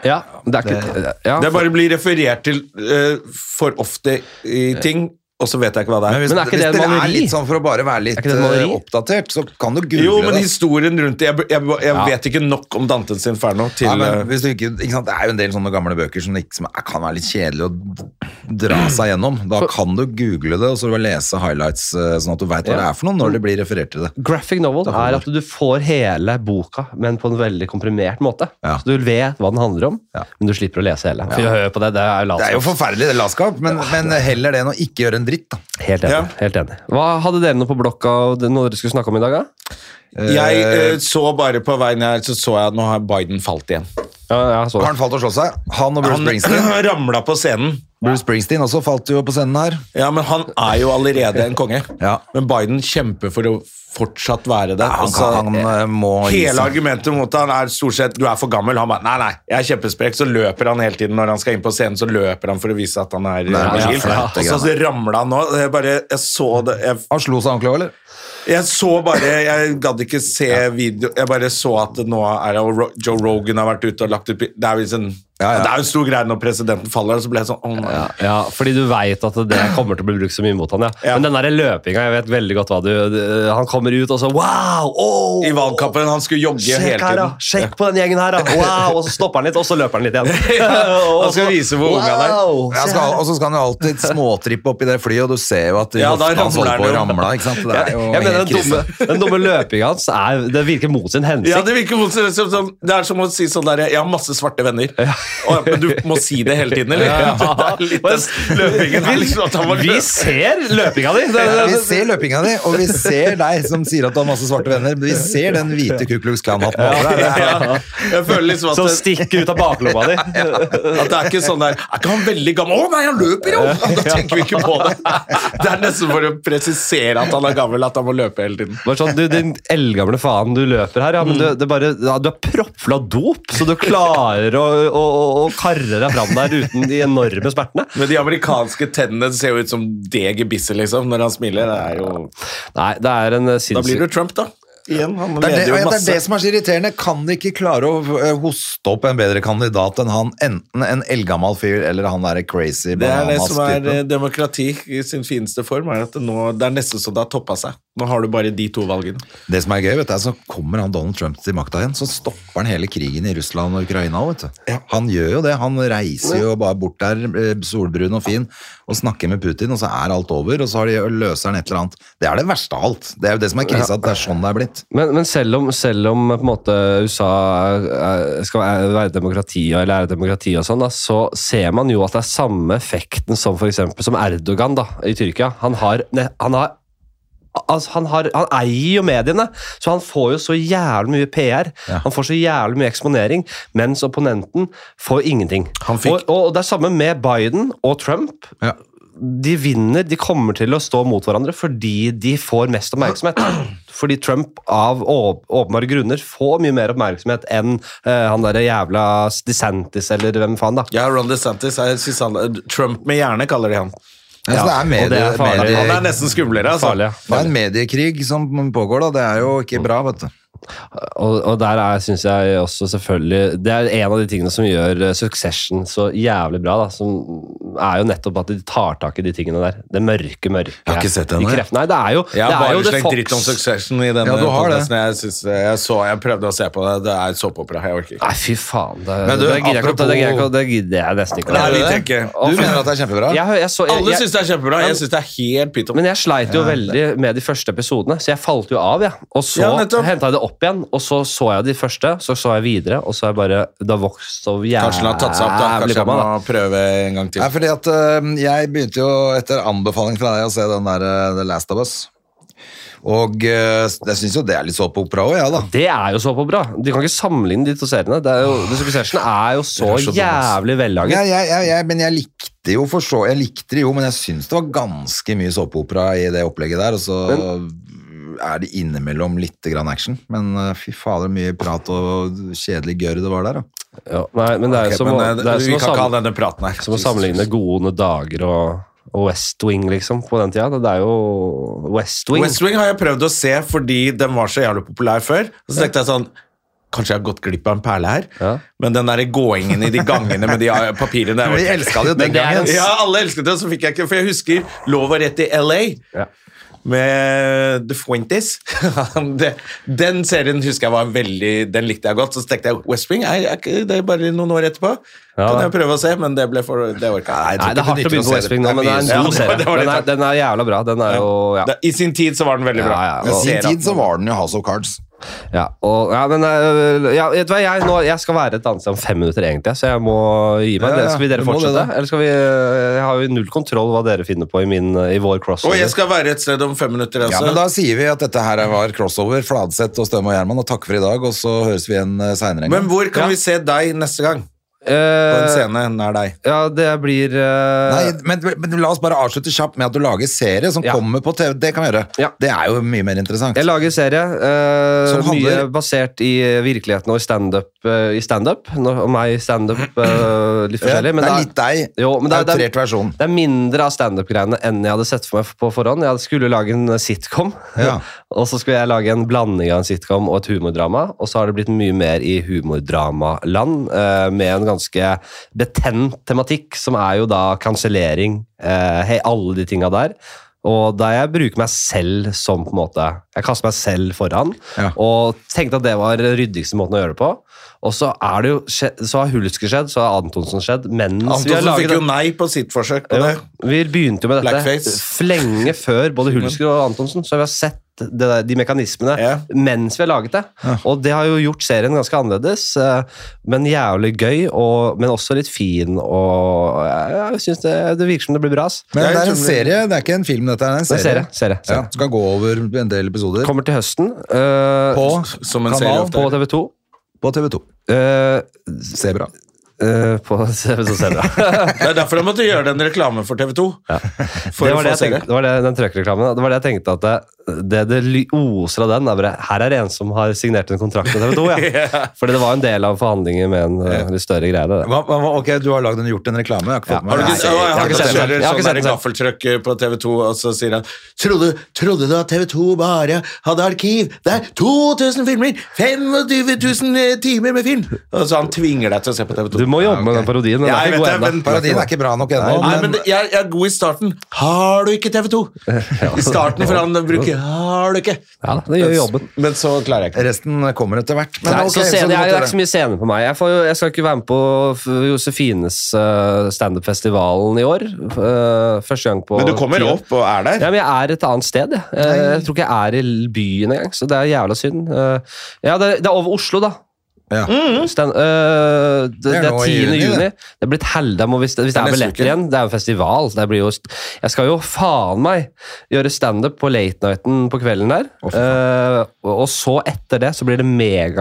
Speaker 2: ja, det er ikke ja,
Speaker 3: Det bare blir referert til eh, for ofte i ting, og så vet jeg ikke hva det er.
Speaker 1: hvis,
Speaker 2: Men er ikke
Speaker 1: hvis
Speaker 2: det et
Speaker 1: dere er
Speaker 2: maleri?
Speaker 1: litt sånn for å bare være litt
Speaker 2: ikke det et maleri?
Speaker 1: eh, oppdatert, så kan du google
Speaker 3: jo, men
Speaker 1: det.
Speaker 3: historien rundt det Jeg, jeg, jeg
Speaker 2: Ja.
Speaker 3: vet ikke nok om Dantes Inferno til
Speaker 1: Nei,
Speaker 3: eh,
Speaker 1: men hvis du ikke, ikke sant? Det er jo en del sånne gamle bøker som liksom, er- kan være litt kjedelig å dra seg gjennom. Da kan du google det og så lese highlights, eh, sånn at du veit hva
Speaker 2: Ja.
Speaker 1: det er for noe når det blir referert til det.
Speaker 2: Graphic novel er at du får hele boka, men på en veldig komprimert måte.
Speaker 1: Ja.
Speaker 2: Så du vet hva den handler om,
Speaker 1: Ja.
Speaker 2: men du slipper å lese hele. For hør på det, det er jo
Speaker 1: Det er jo forferdelig, det latskap, men, men heller det enn å ikke gjøre en dritt. da.
Speaker 2: Helt enig.
Speaker 3: Ja.
Speaker 2: helt enig. Hva Hadde dere noe på blokka og det- noe dere skulle snakke om i dag? da?
Speaker 3: Jeg eh, så bare på veien her, så så jeg at nå har Biden falt igjen.
Speaker 2: Ja, ja, så.
Speaker 1: Har han falt og slått seg? Han og Bruce
Speaker 3: Han
Speaker 1: Springsteen.
Speaker 3: ramla på scenen.
Speaker 1: Bruce Springsteen også falt jo på scenen her.
Speaker 3: Ja, men han er jo allerede en konge.
Speaker 1: Ja.
Speaker 3: Men Biden kjemper for å fortsatt være det.
Speaker 1: Han,
Speaker 3: Og så-
Speaker 1: kan, han eh, må gi
Speaker 3: Hele
Speaker 1: seg.
Speaker 3: argumentet mot han er stort sett du er for gammel. Han bare nei, nei, jeg er kjempesprek. Så løper han hele tiden når han skal inn på scenen, så løper han for å vise at han er
Speaker 1: Nei,
Speaker 3: agil.
Speaker 1: ja, for det er
Speaker 3: Og så ramla han nå. Jeg bare, jeg så det jeg,
Speaker 1: Han slo seg ordentlig, eller?
Speaker 3: Jeg så bare Jeg gadd ikke se video Jeg bare så at nå er det og Ro- Joe Rogan har vært ute og lagt ut bi- Det er jo liksom,
Speaker 1: Ja, ja.
Speaker 3: Det er jo en stor greie når presidenten faller, og så ble jeg sånn oh, nei.
Speaker 2: Ja, fordi du veit at det kommer til å bli brukt så mye mot han, ja.
Speaker 3: Ja.
Speaker 2: Men den der løpinga, jeg vet veldig godt hva du Han kommer ut og så Wow! Oh,
Speaker 3: I valgkampen han skulle jogge hele
Speaker 2: Sjekk
Speaker 3: tiden.
Speaker 2: her, da! Sjekk på den gjengen her, da! Wow! Og så stopper han litt, og så løper han litt igjen.
Speaker 3: Han skal vise hvor ung han er.
Speaker 2: Wow!
Speaker 1: Ja, skal, og så skal han jo alltid småtrippe oppi det flyet, og du ser jo at
Speaker 3: Ja, da
Speaker 1: hofta hans
Speaker 3: ramler
Speaker 1: holder på å
Speaker 3: han jo.
Speaker 1: ramle. Ikke sant? Det er
Speaker 2: Jeg,
Speaker 1: jo
Speaker 2: jeg mener
Speaker 1: helt
Speaker 2: Den dumme,
Speaker 1: krise.
Speaker 2: den dumme løpinga hans er, det virker mot sin hensikt.
Speaker 3: Ja, det virker motsatt. Som, som, det er som å si sånn der Jeg har masse svarte venner. Og, men du må si det hele tiden, eller? Det er litt den løpingen her, liksom. At han var
Speaker 2: Vi
Speaker 3: løp.
Speaker 2: ser løpinga di! Det,
Speaker 1: Ja,
Speaker 2: det,
Speaker 1: Vi ser løpinga di, og vi ser deg som sier at du har masse svarte venner. men Vi ser den hvite Ku Klux Klan-hatten over deg. Det er-
Speaker 3: ja. Jeg føler liksom at
Speaker 2: som
Speaker 3: det,
Speaker 2: stikker ut av baklomma di.
Speaker 3: at det er ikke sånn der Er ikke han veldig gammel? Å nei, han løper jo! Da tenker vi ikke på det. Det er nesten for å presisere at han er gammel, at han må løpe hele tiden.
Speaker 2: Bare sånn, du, Din eldgamle faen, du løper her, ja,
Speaker 3: Mm.
Speaker 2: men du, det er bare, ja, du er proppfull av dop, så du klarer å, å, å, å karre deg fram der uten de enorme smertene.
Speaker 3: Men de amerikanske tennene ser jo ut som det gebisset, liksom, når han smiler. Det er jo
Speaker 2: Nei, det er en eh,
Speaker 3: Da blir
Speaker 2: sinnssyk
Speaker 3: du Trump, da. Igjen. Han
Speaker 1: Det er
Speaker 3: leder
Speaker 1: det,
Speaker 3: jo
Speaker 1: og det er
Speaker 3: masse.
Speaker 1: det som er så irriterende. Kan de ikke klare å eh, hoste opp en bedre kandidat enn han? Enten en eldgammel fyr eller han derre crazy
Speaker 3: Det er det som er
Speaker 1: bananas-typen.
Speaker 3: eh, demokrati i sin fineste form. Er at det, nå, det er nesten så det har toppa seg. Nå har du bare de to valgene.
Speaker 1: Det som er gøy, vet du, er så kommer han Donald Trump til makta igjen, så stopper han hele krigen i Russland og Ukraina. Vet du. Han gjør jo det. Han reiser jo bare bort der, eh, solbrun og fin, og snakker med Putin, og så er alt over, og så har de, løser han et eller annet. Det er det verste av alt. Det er jo det som er krisa, at det er sånn det er blitt.
Speaker 2: Men, men selv om, selv om eh, på en måte USA er, er, skal være- være demokrati eller er et demokrati og sånn, da, så ser man jo at det er samme effekten som for eksempel som Erdogan da, i Tyrkia. Han har, ne, han har Altså, han, har, han eier jo mediene, så han får jo så jævlig mye PR. Han får så jævlig mye eksponering, mens opponenten får ingenting.
Speaker 3: Han fikk-
Speaker 2: og, og det er samme med Biden og Trump.
Speaker 1: Ja.
Speaker 2: De vinner, de kommer til å stå mot hverandre fordi de får mest oppmerksomhet. Fordi Trump av å- åpenbare grunner får mye mer oppmerksomhet enn eh, han derre jævla DeSantis eller hvem faen, da.
Speaker 3: Ja, Ron DeSantis jeg synes han, Trump med hjerne, kaller de han.
Speaker 1: Altså, det er
Speaker 2: og det er farlig.
Speaker 1: medie-
Speaker 3: Han er nesten skumlere, altså.
Speaker 2: Farlig, ja.
Speaker 1: det er en mediekrig som pågår, da. Det er jo ikke bra, vet du.
Speaker 2: Og, og der er, synes jeg også selvfølgelig Det er en av de tingene som gjør eh, Succession så jævlig bra, da. Som er jo nettopp at de tar tak i de tingene der. Det mørke, mørke.
Speaker 1: Jeg har ikke sett den,
Speaker 2: de
Speaker 1: jeg.
Speaker 2: kreftene. Nei, det er jo
Speaker 3: Jeg
Speaker 2: det
Speaker 3: har
Speaker 2: er jo
Speaker 3: bare
Speaker 2: det
Speaker 3: slengt
Speaker 2: Fox-
Speaker 3: dritt om Succession i denne
Speaker 1: Ja, du har det.
Speaker 3: podcasten. Jeg, synes, eh, jeg, så, jeg prøvde å se på det. Det er såpeopera. Jeg orker ikke.
Speaker 2: Nei, fy faen. Det,
Speaker 1: Men du,
Speaker 2: det gidder jeg ikke å ta- det gidder jeg ikke å-
Speaker 1: apropos-
Speaker 2: Det gidder jeg nesten ikke. å-
Speaker 3: Nei,
Speaker 1: Er
Speaker 3: vi
Speaker 1: det det?
Speaker 3: tenker-
Speaker 1: Du mener at det er kjempebra?
Speaker 2: Jeg, jeg, så, jeg,
Speaker 3: Alle
Speaker 2: jeg,
Speaker 3: syns det er kjempebra. Eh, Jeg syns det er helt pyton.
Speaker 2: men jeg sleit jo veldig med de første episodene, så jeg falt jo av. Ja. Og så
Speaker 3: Ja,
Speaker 2: hentet
Speaker 3: nettopp.
Speaker 2: henta jeg det opp igjen, og så så jeg de første, så så jeg videre, og så har jeg bare Det har vokst så
Speaker 3: Kanskje han har tatt seg opp, da.
Speaker 2: jævlig
Speaker 3: Kanskje
Speaker 2: på
Speaker 3: han
Speaker 2: meg. da.
Speaker 3: må prøve en gang til.
Speaker 1: Nei, fordi at øhm, jeg begynte jo etter anbefaling fra deg å se den der øh, The Last of Us. Og øh, jeg syns jo det er litt såpeopera òg, jeg, da.
Speaker 2: Det er jo så på bra. Du kan ikke sammenligne de to seriene. Det er jo, The Succession er jo så,
Speaker 3: Det er så Ah. dumt, ass.
Speaker 2: jævlig
Speaker 1: Ja,
Speaker 2: vellaget.
Speaker 1: jeg, jeg, jeg, men jeg likte jo for så Jeg likte det jo, men jeg syns det var ganske mye såpeopera i det opplegget der. Og så er det innimellom litt grann action. Men øh, fy fader, mye prat og kjedelig gørr det var der, da.
Speaker 2: Ja, nei, men det er
Speaker 3: Ok,
Speaker 2: jo som,
Speaker 3: men,
Speaker 2: å-
Speaker 3: eh,
Speaker 2: det er jo
Speaker 3: vi
Speaker 2: som, å
Speaker 3: kan ikke ha
Speaker 2: sammen-
Speaker 3: denne praten her.
Speaker 2: som å sammenligne Gode dager og, og West Wing, liksom, på den tida. Det er jo West Wing.
Speaker 3: West Wing har jeg prøvd å se fordi den var så jævlig populær før. Og så tenkte jeg sånn Kanskje jeg har gått glipp av en perle her,
Speaker 2: Ja.
Speaker 3: men den der gåingen i de gangene med de eh, papirene
Speaker 1: Vi
Speaker 3: der
Speaker 1: elska det jo
Speaker 2: Men
Speaker 1: den
Speaker 2: det er en
Speaker 1: gangen.
Speaker 3: Ja, alle elsket det, og så fikk jeg ikke For jeg husker Lov og rett i LA
Speaker 2: Ja.
Speaker 3: med The Fuentes. Det- den serien husker jeg var veldig Den likte jeg godt. Så tenkte jeg West Wing er, er ikke det bare noen år etterpå.
Speaker 2: Ja,
Speaker 3: kan
Speaker 2: da.
Speaker 3: jeg prøve å se, men det ble for Det orka jeg.
Speaker 2: Nei, det er hardt å begynne på West Wing nå, men det er en
Speaker 3: Ja,
Speaker 2: god
Speaker 3: det var-
Speaker 2: serie.
Speaker 3: det var det
Speaker 2: Den er,
Speaker 3: takk.
Speaker 2: den er jævla bra. Den er jo ja.
Speaker 3: Det- I sin tid så var den veldig bra.
Speaker 2: Ja, ja,
Speaker 1: I
Speaker 3: Jeg
Speaker 1: sin
Speaker 3: ser at-
Speaker 1: tid så var den jo House of Cards.
Speaker 2: Ja, og, ja men øh, ja, vet du hva, jeg, nå, jeg skal være et annet sted om fem minutter, egentlig, så jeg må gi meg.
Speaker 1: Ja, ja,
Speaker 2: skal vi dere
Speaker 1: du må det,
Speaker 2: fortsette?
Speaker 1: da.
Speaker 2: Eller skal vi øh, Jeg har jo null kontroll hva dere finner på i, min, øh, i vår cross.
Speaker 3: Og jeg skal være et sted om fem minutter. Altså.
Speaker 1: Ja, men da sier vi at dette her var crossover, Fladseth og Støme og Gjerman, og takk for i dag, og så høres vi igjen eh, seinere. en gang.
Speaker 3: Men hvor kan
Speaker 2: Ja.
Speaker 3: vi se deg neste gang? På en
Speaker 2: Eh,
Speaker 3: scene nær deg.
Speaker 2: ja, det blir øh,
Speaker 1: Nei, men, men la oss bare avslutte kjapt med at du lager serie som
Speaker 2: Ja.
Speaker 1: kommer på TV. Det kan vi gjøre.
Speaker 2: Ja.
Speaker 1: Det er jo mye mer interessant.
Speaker 2: Jeg lager serie, eh,
Speaker 1: Som handler-
Speaker 2: mye basert i eh, virkeligheten og i standup. eh, I standup, Nå- og meg i standup, eh, litt
Speaker 1: Ja,
Speaker 2: forskjellig. men
Speaker 1: det
Speaker 2: da-
Speaker 1: er litt deg.
Speaker 2: Jo, men det er- det er-
Speaker 1: Outrert versjon.
Speaker 2: Det er mindre av standup-greiene enn jeg hadde sett for meg på forhånd. Jeg skulle lage en eh, sitcom,
Speaker 1: Ja.
Speaker 2: Og så skulle jeg lage en blanding av en sitcom og et humordrama, og så har det blitt mye mer i humordramaland, eh, med en ganske betent tematikk, som er jo da kansellering, eh, he- alle de tinga der. Og der jeg bruker meg selv som på en måte Jeg kaster meg selv foran,
Speaker 1: Ja.
Speaker 2: og tenkte at det var den ryddigste måten å gjøre det på. Og så, er det jo, skje- så har Hulsker skjedd, så har Antonsen skjedd. Mens vi har
Speaker 3: Antonsen
Speaker 2: laget
Speaker 3: fikk
Speaker 2: den-
Speaker 3: jo nei på sitt forsøk på
Speaker 2: jo,
Speaker 3: det.
Speaker 2: vi begynte jo med dette
Speaker 3: Blackface.
Speaker 2: lenge før både Hulsker og Antonsen, så vi har sett det der, de mekanismene
Speaker 3: Ja.
Speaker 2: mens vi har laget det. Og det har jo gjort serien ganske annerledes, eh, men jævlig gøy, og, men også litt fin. Og ja, jeg synes det, det virker som det blir bra. ass.
Speaker 1: Men
Speaker 3: Jeg
Speaker 1: det er
Speaker 3: tror
Speaker 1: en
Speaker 3: det-
Speaker 1: serie, det er ikke en film, dette er en
Speaker 2: Det er
Speaker 1: serie.
Speaker 2: serie, serie, serie.
Speaker 1: Ja, skal gå over en del episoder
Speaker 2: Kommer til høsten eh,
Speaker 1: på,
Speaker 3: Som en
Speaker 1: Kanal
Speaker 3: serie ofte.
Speaker 2: på TV 2.
Speaker 1: på TV 2. Sebra.
Speaker 2: eh, på TV 2 Sebra.
Speaker 3: Det er derfor de måtte gjøre den reklamen for TV 2. For
Speaker 2: det,
Speaker 3: å
Speaker 2: var det,
Speaker 3: få
Speaker 2: jeg
Speaker 3: seere.
Speaker 2: tenkte, det var det den trøkkreklamen. Det var det jeg tenkte at det, det, det ly- oser av den, er bare Her er det en som har signert en kontrakt med TV 2, ja. Fordi det var en del av forhandlinger med en eh, litt større greie. Det.
Speaker 1: Hva, hva, ok, du har lagd en, gjort en reklame. Jeg har ikke fått
Speaker 2: Ja.
Speaker 1: med
Speaker 3: Har
Speaker 1: meg det.
Speaker 2: Nei, jeg har
Speaker 3: du ikke, Å, jeg har
Speaker 2: ikke sett den. Jeg har ikke
Speaker 3: Sånn der
Speaker 2: sett den.
Speaker 3: gaffeltrøkk på TV 2, og så sier han trodde, 'Trodde du at TV 2 bare eh, hadde arkiv? Det er 2000 filmer! 25 000 timer med film!' Og så han tvinger deg til å se på TV 2.
Speaker 2: Du må jobbe
Speaker 1: ok.
Speaker 2: med den parodien. Den
Speaker 3: Ja,
Speaker 2: er
Speaker 3: jeg
Speaker 2: ikke god
Speaker 3: vet det,
Speaker 2: ennå.
Speaker 3: men-
Speaker 1: Parodien er ikke bra nok ennå,
Speaker 3: Nei, men
Speaker 1: men
Speaker 3: det- jeg, jeg er god i starten. Har du ikke TV 2? I starten, for han bruker 'har du ikke'.
Speaker 2: Ja, da, det gjør jobben.
Speaker 3: Men så klarer jeg ikke.
Speaker 1: resten kommer etter hvert. Men
Speaker 2: Nei,
Speaker 1: ok,
Speaker 2: så
Speaker 1: så
Speaker 2: scene,
Speaker 1: du
Speaker 2: jeg, det
Speaker 1: måtte
Speaker 2: er ikke så mye scener på meg. Jeg, får, jo- jeg skal ikke være med på f- Josefines uh, standup-festivalen i år. Eh, første gang på
Speaker 3: Men du kommer
Speaker 2: ti år.
Speaker 3: opp og er der?
Speaker 2: Ja, men jeg er et annet sted, jeg. Eh, Jeg tror ikke jeg er i byen engang, så det er jævla synd. Eh, Ja, det, det er over Oslo, da.
Speaker 1: Ja.
Speaker 2: Sten- eh, det, det
Speaker 1: er
Speaker 2: er
Speaker 1: nå
Speaker 2: 10.
Speaker 1: i
Speaker 2: juni.
Speaker 1: juni, det.
Speaker 2: Det er blitt heldig om hvis, det- hvis det
Speaker 3: Det
Speaker 2: er
Speaker 3: er neste
Speaker 2: billetter
Speaker 3: uke.
Speaker 2: igjen. Det er jo festival. så Det blir jo, st- jeg skal jo faen meg gjøre standup på late nighten på kvelden der.
Speaker 1: Å, fy
Speaker 2: Eh, og og så etter det så blir det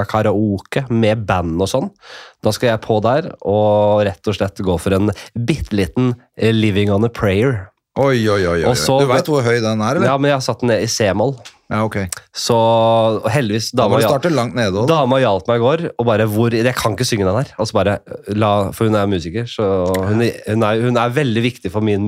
Speaker 2: megakaraoke med band og sånn. Da skal jeg på der og rett og slett gå for en bitte liten living on a prayer.
Speaker 1: Oi, oi, oi. oi.
Speaker 2: Og så-
Speaker 1: du veit hvor høy den er, eller?
Speaker 2: Ja, men jeg har satt den ned i C-moll.
Speaker 1: Ja, ok.
Speaker 2: Så og heldigvis
Speaker 1: Da må
Speaker 2: dama,
Speaker 1: du
Speaker 2: hjalp-
Speaker 1: starte langt nede. også.
Speaker 2: dama hjalp meg i går og bare hvor, Jeg kan ikke synge den her. Altså bare, la, for hun er musiker, så hun, hun, er, hun er veldig viktig for min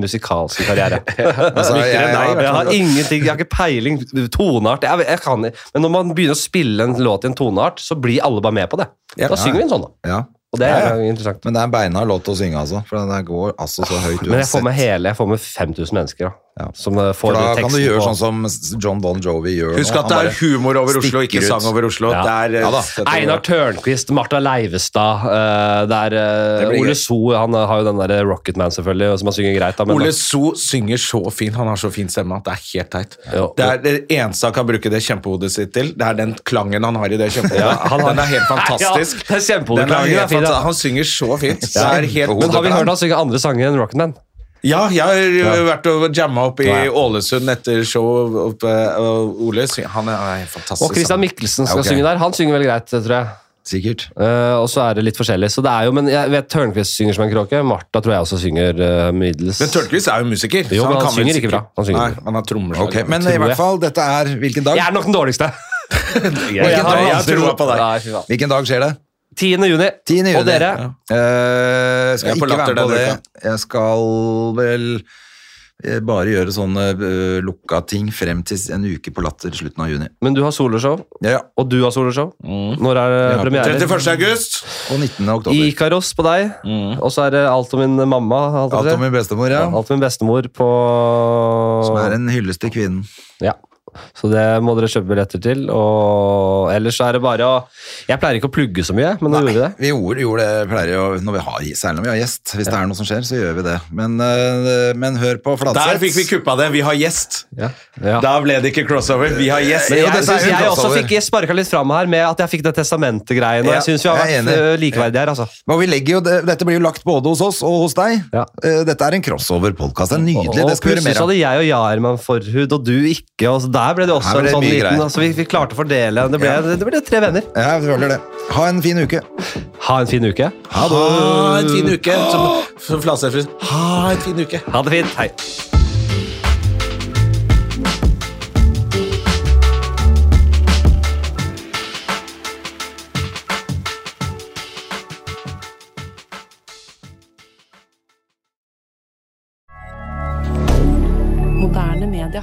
Speaker 2: musikalske karriere.
Speaker 1: Altså, jeg, jeg,
Speaker 2: Nei,
Speaker 1: jeg,
Speaker 2: jeg har ingenting, jeg har ikke peiling. Toneart jeg, jeg kan, Men når man begynner å spille en låt i en toneart, så blir alle bare med på det.
Speaker 3: Ja.
Speaker 2: Da synger vi en sånn, da.
Speaker 1: ja.
Speaker 2: Og det
Speaker 1: Ja,
Speaker 2: er interessant.
Speaker 1: Men det er en beinhard låt å synge, altså. For den der går altså så høyt
Speaker 2: Men jeg får
Speaker 1: uansett.
Speaker 2: med hele, jeg får med 5000 mennesker, da.
Speaker 1: Ja.
Speaker 2: Som eh, får
Speaker 1: For da kan du
Speaker 2: den teksten
Speaker 1: gjøre
Speaker 2: på-
Speaker 1: sånn som John Bon Jovi gjør
Speaker 3: Husk
Speaker 1: nå.
Speaker 3: at det
Speaker 1: Han
Speaker 3: er humor over Oslo, ikke
Speaker 1: stikker ut.
Speaker 3: sang over Oslo.
Speaker 2: Ja.
Speaker 3: Det er, eh,
Speaker 1: Ja da.
Speaker 3: setter-
Speaker 2: Einar Tørnquist, Martha Leivestad eh, Det er eh,
Speaker 3: Det blir
Speaker 2: Ole
Speaker 3: gøy.
Speaker 2: So, han eh, har jo den der Rocketman, selvfølgelig, som han synger greit. Da, men
Speaker 3: Ole
Speaker 2: da,
Speaker 3: So synger så fint. Han har så fin stemme at det er helt teit.
Speaker 2: Jo.
Speaker 3: Det er det eneste han kan bruke det kjempehodet sitt til. Det er den klangen han har i det kjempehodet.
Speaker 2: Ja, han har-
Speaker 3: Den er helt fantastisk.
Speaker 2: Ja, det er kjempehodet,
Speaker 3: Den er
Speaker 2: klangen er
Speaker 3: helt
Speaker 2: fin, ja.
Speaker 3: fanta- Han synger så fint. Det er helt,
Speaker 2: men har vi hørt han synge andre sanger enn Rocketman?
Speaker 3: Ja, jeg har jo vært og jamma opp i
Speaker 2: Ja, ja.
Speaker 3: Ålesund etter show. Oppe, og Ole synger Han er, han er helt fantastisk.
Speaker 2: Og Christian
Speaker 3: sammen.
Speaker 2: Mikkelsen
Speaker 1: Ja,
Speaker 2: skal
Speaker 1: ok.
Speaker 2: synge der. Han synger veldig greit, eh, tror jeg.
Speaker 1: Sikkert.
Speaker 2: Eh, og så er det litt forskjellig. Så det er jo, men jeg vet Tørnquist synger som en kråke. Martha tror jeg også synger eh, middels.
Speaker 3: Men Tørnquist er jo musiker.
Speaker 2: Jo,
Speaker 3: så
Speaker 2: men han
Speaker 3: kan vel
Speaker 2: synger ikke
Speaker 3: sikkert-
Speaker 2: bra. Han synger ikke
Speaker 3: Nei, han har trommeslag.
Speaker 1: Ok, Men
Speaker 2: Tror
Speaker 1: i hvert
Speaker 2: jeg.
Speaker 1: fall, dette er Hvilken
Speaker 2: Jeg
Speaker 1: dag?
Speaker 2: er nok den dårligste. jeg,
Speaker 3: Jeg
Speaker 2: har
Speaker 3: tror- jeg
Speaker 2: vanskelig-
Speaker 3: tror på deg.
Speaker 2: Nei, fy faen.
Speaker 1: Hvilken dag skjer det?
Speaker 2: 10. juni.
Speaker 1: 10. juni.
Speaker 2: Og dere?
Speaker 1: Ja. Eh, skal
Speaker 3: Jeg er på
Speaker 1: ikke være
Speaker 3: latter
Speaker 1: med på det.
Speaker 3: denne
Speaker 1: Jeg skal vel eh, bare gjøre sånne eh, lukka ting frem til en uke på Latter i slutten av juni.
Speaker 2: Men du har soloshow,
Speaker 1: Ja, ja.
Speaker 2: og du har soloshow. Når er det
Speaker 1: Ja.
Speaker 2: premiere?
Speaker 3: 31. august.
Speaker 1: Og 19. oktober.
Speaker 2: Ikaros på deg, og så er det alt om min mamma. Alt,
Speaker 1: Mm. Alt om min bestemor, ja.
Speaker 2: alt om min bestemor på
Speaker 1: Som er en hyllest til kvinnen.
Speaker 2: Ja. Så det må dere kjøpe billetter til. Og ellers så er det bare å Jeg pleier ikke å plugge så mye, men nå gjorde vi det.
Speaker 1: Vi gjorde, gjorde det, pleier jo, når vi har, særlig når vi har gjest. Hvis det er noe som skjer, så gjør vi det. Men, eh, men hør på Fladseth.
Speaker 3: Der fikk vi kuppa det. Vi har gjest.
Speaker 2: Ja. Ja.
Speaker 3: Da ble det ikke crossover. Vi har gjest.
Speaker 1: Men
Speaker 2: Jeg,
Speaker 1: Jo, dette er
Speaker 2: synes
Speaker 1: jo
Speaker 2: jeg også
Speaker 1: crossover.
Speaker 2: fikk sparka litt fram her med at jeg fikk det testamentet-greien. Og
Speaker 1: Ja,
Speaker 2: jeg syns vi har
Speaker 1: jeg er enig.
Speaker 2: vært øh, likeverdige her, altså.
Speaker 1: Men vi legger jo, det- dette blir jo lagt både hos oss og hos deg.
Speaker 2: Ja.
Speaker 1: Eh, Dette er en crossover-podkast. Det er nydelig.
Speaker 2: Og
Speaker 1: Det skal vi gjøre
Speaker 2: plutselig
Speaker 1: mer
Speaker 2: så
Speaker 1: av.
Speaker 2: hadde jeg og Jarman forhud, og du ikke. Og så der ble det også
Speaker 1: Her ble det
Speaker 2: en sånn
Speaker 1: mye
Speaker 2: liten
Speaker 1: greier.
Speaker 2: altså, vi, vi klarte å fordele. Det ble,
Speaker 1: Ja.
Speaker 2: det ble tre venner.
Speaker 1: Ja, vi følger det. Ha en fin uke.
Speaker 2: Ha en fin uke.
Speaker 1: Ha det.
Speaker 3: Ha en fin uke. Som, som Fladseth. Ha en fin uke.
Speaker 2: Ha det fint. Hei.
Speaker 4: Moderne media.